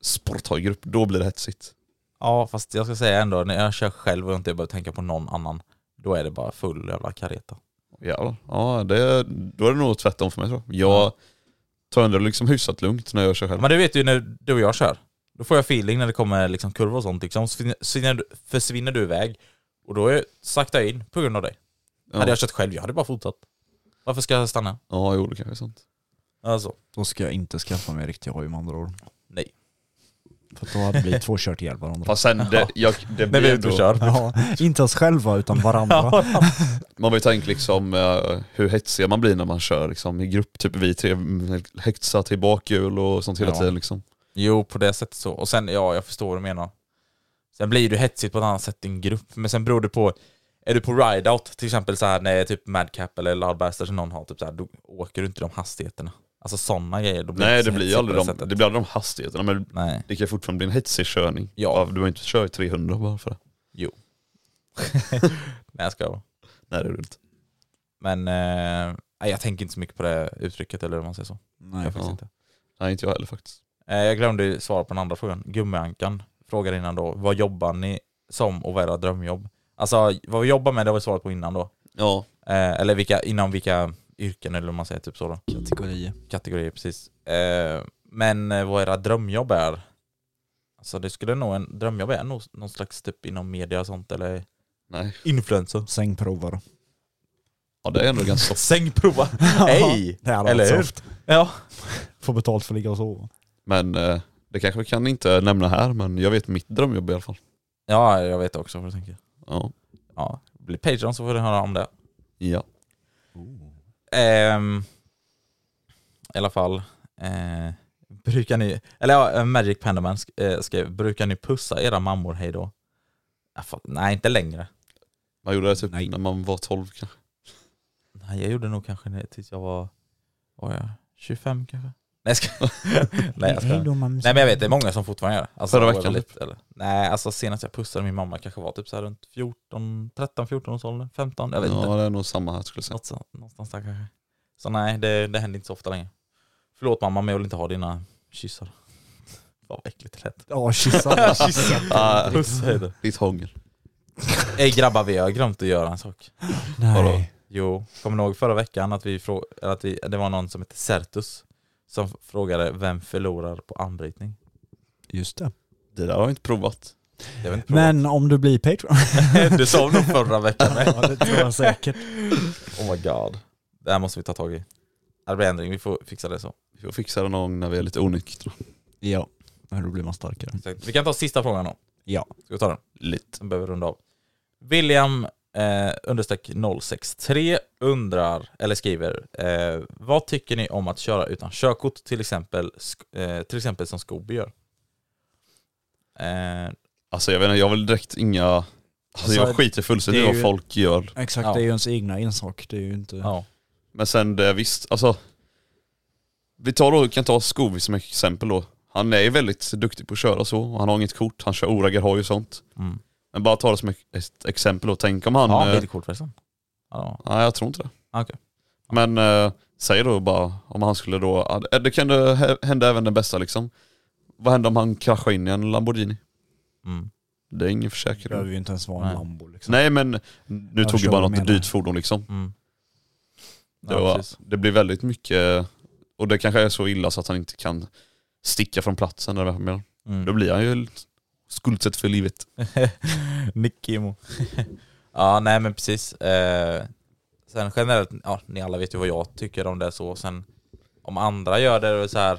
sporthojgrupp, då blir det hetsigt. Ja, fast jag ska säga ändå, när jag kör själv och inte behöver tänka på någon annan, då är det bara full jävla kareta. Jävlar. Ja, det, då är det nog tvärtom för mig tror jag. Jag tar ändå liksom hyfsat lugnt när jag kör själv. Men du vet ju när du och jag kör, då får jag feeling när det kommer liksom kurvor och sånt. Liksom. Så försvinner, du- försvinner du iväg och då är, saktar jag in på grund av dig. Ja. Hade jag kört själv, jag hade bara fortsatt. Varför ska jag stanna? Ja, jo det kanske är sant. Alltså, Då ska jag inte skaffa mig en riktig hoj med andra ord. nej. För då hade vi två kört ihjäl varandra. Fast sen, det, jag, det När blir vi är ute ändå, och kör. Ja, inte oss själva utan varandra. man har ju tänkt liksom eh, hur hetsiga man blir när man kör liksom, i grupp. Typ vi tre mm, hetsar till bakhjul och sånt hela Ja. tiden liksom. Jo, på det sättet så. Och sen, ja, jag förstår vad du menar. Sen blir du hetsigt på ett annat sätt i en grupp, men sen beror det på... Är du på ride-out, till exempel så här när typ Madcap eller Loudbasters som någon har, typ så här, då åker du inte de hastigheterna. Alltså sådana grejer. Då Nej så det blir ju hetsigt på aldrig de, sättet. det blir aldrig de hastigheterna men Nej, det kan ju fortfarande bli en hetsig körning. Ja. Du behöver inte köra i 300 bara för det. nej jag ska Nej det är roligt. Men eh, nej, jag tänker inte så mycket på det uttrycket eller hur man säger så. Nej. jag faktiskt ja. inte. Nej inte jag heller faktiskt. Eh, jag glömde ju svara på den andra frågan. Gummiankan frågade innan då, vad jobbar ni som och vad är era drömjobb? Alltså vad vi jobbar med, det har vi svarat på innan då. Ja. Eh, eller vilka, inom vilka yrken eller vad man säger, typ så då. Kategorier. Kategorier, precis. Eh, men eh, vad era drömjobb är? Alltså det skulle nog, en drömjobb är nog någon slags typ inom media och sånt eller Nej. influencer. Sängprovare. Ja det är ändå ganska soft. Sängprova! Hej! Det hade eller varit hur? soft. Ja. Få betalt för att ligga och sova. Men eh, det kanske vi kan inte nämna här men jag vet mitt drömjobb i alla fall. ja, jag vet också vad du tänker. Ja. Ja, bli Patreon så får du höra om det. Ja. Ehm, I alla fall. Eh, brukar ni, eller ja, eh, Magic Pandaman sk- eh, skrev, brukar ni pussa era mammor hej då? Jag fatt- nej, inte längre. Man gjorde det typ Nej. när man var 12 kanske. Nej, jag gjorde nog kanske när- tills jag var, vad var jag, 25 kanske? Nej jag ska, nej, jag ska. Hej då, mamma. nej men jag vet, det är många som fortfarande gör det. Alltså, Förra veckan, typ. oavsett, eller, Nej, alltså senast jag pussade min mamma kanske var typ så här runt 14, 13, 14 års ålder, 15, jag vet inte. Ja det är nog samma här skulle jag säga. Något så, någonstans där kanske. Så nej, det, det händer inte så ofta längre. Förlåt mamma, men jag vill inte ha dina kyssar. Fan vad äckligt det lät. Ja, kyssa. Ah, Puss, hej då. ditt hångel. Ey grabbar, vi har glömt att göra en sak. Vadå? Nej. Jo, kommer ni ihåg förra veckan att vi frå- eller att vi, det var någon som hette Certus som f- frågade vem förlorar på armbrytning? Just det. Det där har jag inte provat. Jag vet inte Men om du blir Patreon. prova. det sa vi nog förra veckan med. ja, det tror jag säkert. Oh my god. Det här måste vi ta tag i. Ja, Det blir ändring, vi får fixa det så. Vi får fixa det någon gång när vi är lite onyktra. Ja, men då blir man starkare. Vi kan ta sista frågan då. Ja. Ska vi ta den? Lite. Sen behöver vi runda av. William eh, understreck 063 undrar, eller skriver, eh, vad tycker ni om att köra utan körkort till exempel, sk- eh, till exempel som Scooby gör? Eh, Alltså jag vet inte, jag vill direkt inga... Alltså, jag skiter fullständigt i det är vad ju- folk gör. Exakt, Ja. det är ju ens egna ensak. Det är ju inte... ja. Men sen det, visst, alltså. Vi tar då, kan ta Scooby som exempel då. Han är ju väldigt duktig på att köra så, och han har inget kort, han kör oraggar hoj och sånt. Mm. Men bara ta det som ett exempel och tänk om han... Har eh, han bilkort förresten? Ja, nej jag tror inte det. ah, okej. Men eh, säg då bara om han skulle då, ja, det- det kan det hä- hända även den bästa liksom. Vad händer om han kraschar in i en Lamborghini? Mm. Det är ingen Det behöver försäkring. ju inte ens vara en Nej. Lambo liksom. Nej men nu Jag tog ju förstår bara vad något du menar. dyrt fordon liksom. Mm. Det, Ja, var, precis. det blir väldigt mycket, och det kanske är så illa så att han inte kan sticka från platsen eller vad jag menar. Då Mm. blir han ju lite skuldsatt för livet. Nickimo. ja, nej men precis. Eh, sen generellt, ja ni alla vet ju vad jag tycker om det så, sen om andra gör det, då är det så här,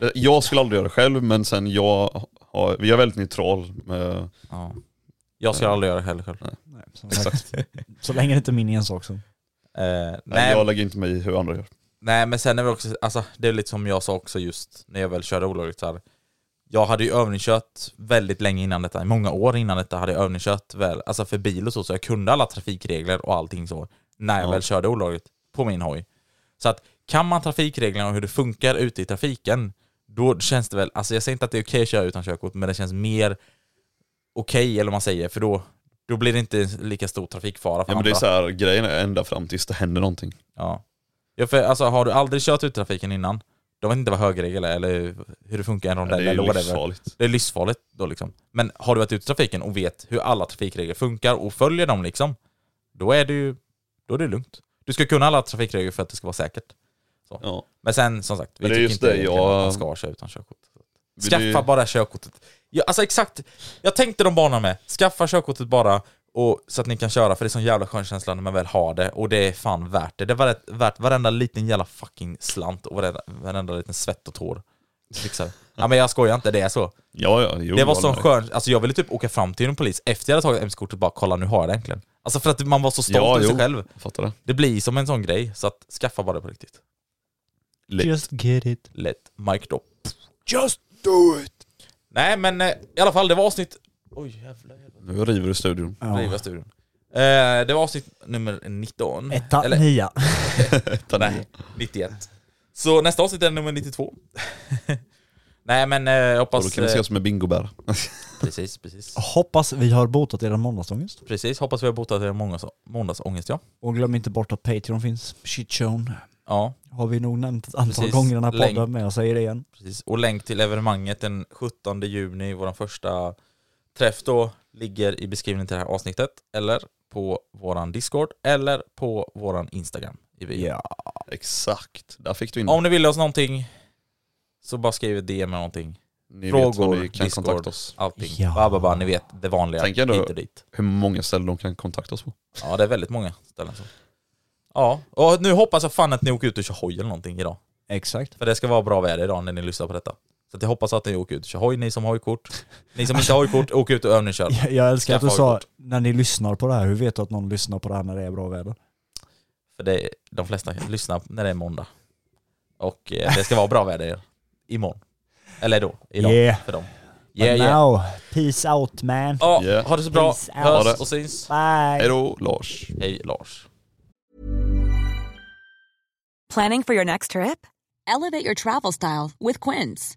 Eh, Jag skulle aldrig göra det själv men sen jag, har, vi är väldigt neutral. Med, ja. Jag ska aldrig göra det heller själv. Nej, som sagt, exakt. så länge det inte är min ensak så. Eh, Nej. nej, Jag lägger inte mig i hur andra gör. nej men sen är det också, alltså, det är lite som jag sa också just när jag väl körde olagligt så här. Jag hade ju övningskört väldigt länge innan detta, många år innan detta hade jag övningskört väl, alltså för bil och så, så jag kunde alla trafikregler och allting så när jag Ja. väl körde olagligt på min hoj. Så att kan man trafikreglerna och hur det funkar ute i trafiken, då känns det väl, alltså jag säger inte att det är okej att köra utan körkort, men det känns mer okej eller vad man säger, för då, då blir det inte lika stor trafikfara för Ja men andra. det är så här, grejen är ända fram tills det händer någonting. Ja. ja för, alltså, har du aldrig kört ut trafiken innan, då vet inte vad högerregel är eller hur det funkar i en Ja, rondell det är eller ju whatever. livsfarligt. Det är livsfarligt då liksom. Men har du varit ute i trafiken och vet hur alla trafikregler funkar och följer dem liksom, då är det ju då är det lugnt. Du ska kunna alla trafikregler för att det ska vara säkert. Ja. Men sen som sagt, vi Men det är tycker just inte det, egentligen jag- att man ska köra utan körkort. Vill Skaffa du- bara körkortet. Ja, alltså exakt, jag tänkte de banorna med. Skaffa körkortet bara och, så att ni kan köra, för det är sån jävla skön känsla när man väl har det. Och det är fan värt det. Det är värt, värt varenda liten jävla fucking slant och varenda, varenda liten svett och tår. Fixar. Ja men jag skojar inte, det är så. Ja, ja, jo, det var jag sån märker. skön, alltså jag ville typ åka fram till en polis efter jag hade tagit MC-kortet och bara kolla nu har jag det äntligen. Alltså för att man var så stolt Ja, över sig jo. själv. Jag Fattar det. Det blir som en sån grej, så att skaffa bara det på riktigt. Lätt. Just get it. Lätt, mic drop. Just do it! Nej men eh, i alla fall, det var avsnitt... Oj jävlar. Nu river du studion. Ja. Riva studion. Eh, det var avsnitt nummer 19. Etta, Eller nia. nej, 91. Så nästa avsnitt är nummer 92. nej men eh, jag Och då hoppas... kan det eh, se ut som en bingobär. precis, precis. Hoppas vi har botat er måndagsångest. Precis, hoppas vi har botat er måndags, måndagsångest ja. Och glöm inte bort att Patreon finns. Shitshown. Ja, Har vi nog nämnt ett antal Precis. gånger i den här podden, Länk. men jag säger det igen. precis. Och länk till evenemanget den 17 juni, vår första träff då, ligger i beskrivningen till det här avsnittet. Eller på våran Discord, eller på våran Instagram. I bio. Exakt. Där fick du in Om ni vill oss någonting, så bara skriv ett DM eller någonting. Ni vet var Frågor, ni kan Discord, kontakta oss. allting. Ja. Ba, ba, ba, ni vet det vanliga. Tänk ändå- Hit och dit. Hur många ställen de kan kontakta oss på. Ja, det är väldigt många ställen så. Ja, och nu hoppas jag fan att ni åker ut och kör hoj eller någonting idag. Exakt. För det ska vara bra väder idag när ni lyssnar på detta. Så att jag hoppas att ni åker ut och kör hoj, ni som har hojkort. Ni som inte har hojkort, åk ut och övningskör. Jag, jag älskar att du Skaffa sa, hojkort. när ni lyssnar på det här, hur vet du att någon lyssnar på det här när det är bra väder? För det är, de flesta lyssnar när det är måndag. Och eh, det ska vara bra väder imorgon. Eller då, idag, Yeah. för dem. But Yeah, yeah. now, peace out man. Ja, Yeah. ha det så bra. Peace out. Ha det. Hörs och syns. Bye! Hej då Lars. Hej Lars. Planning for your next trip? Elevate your travel style with Quince.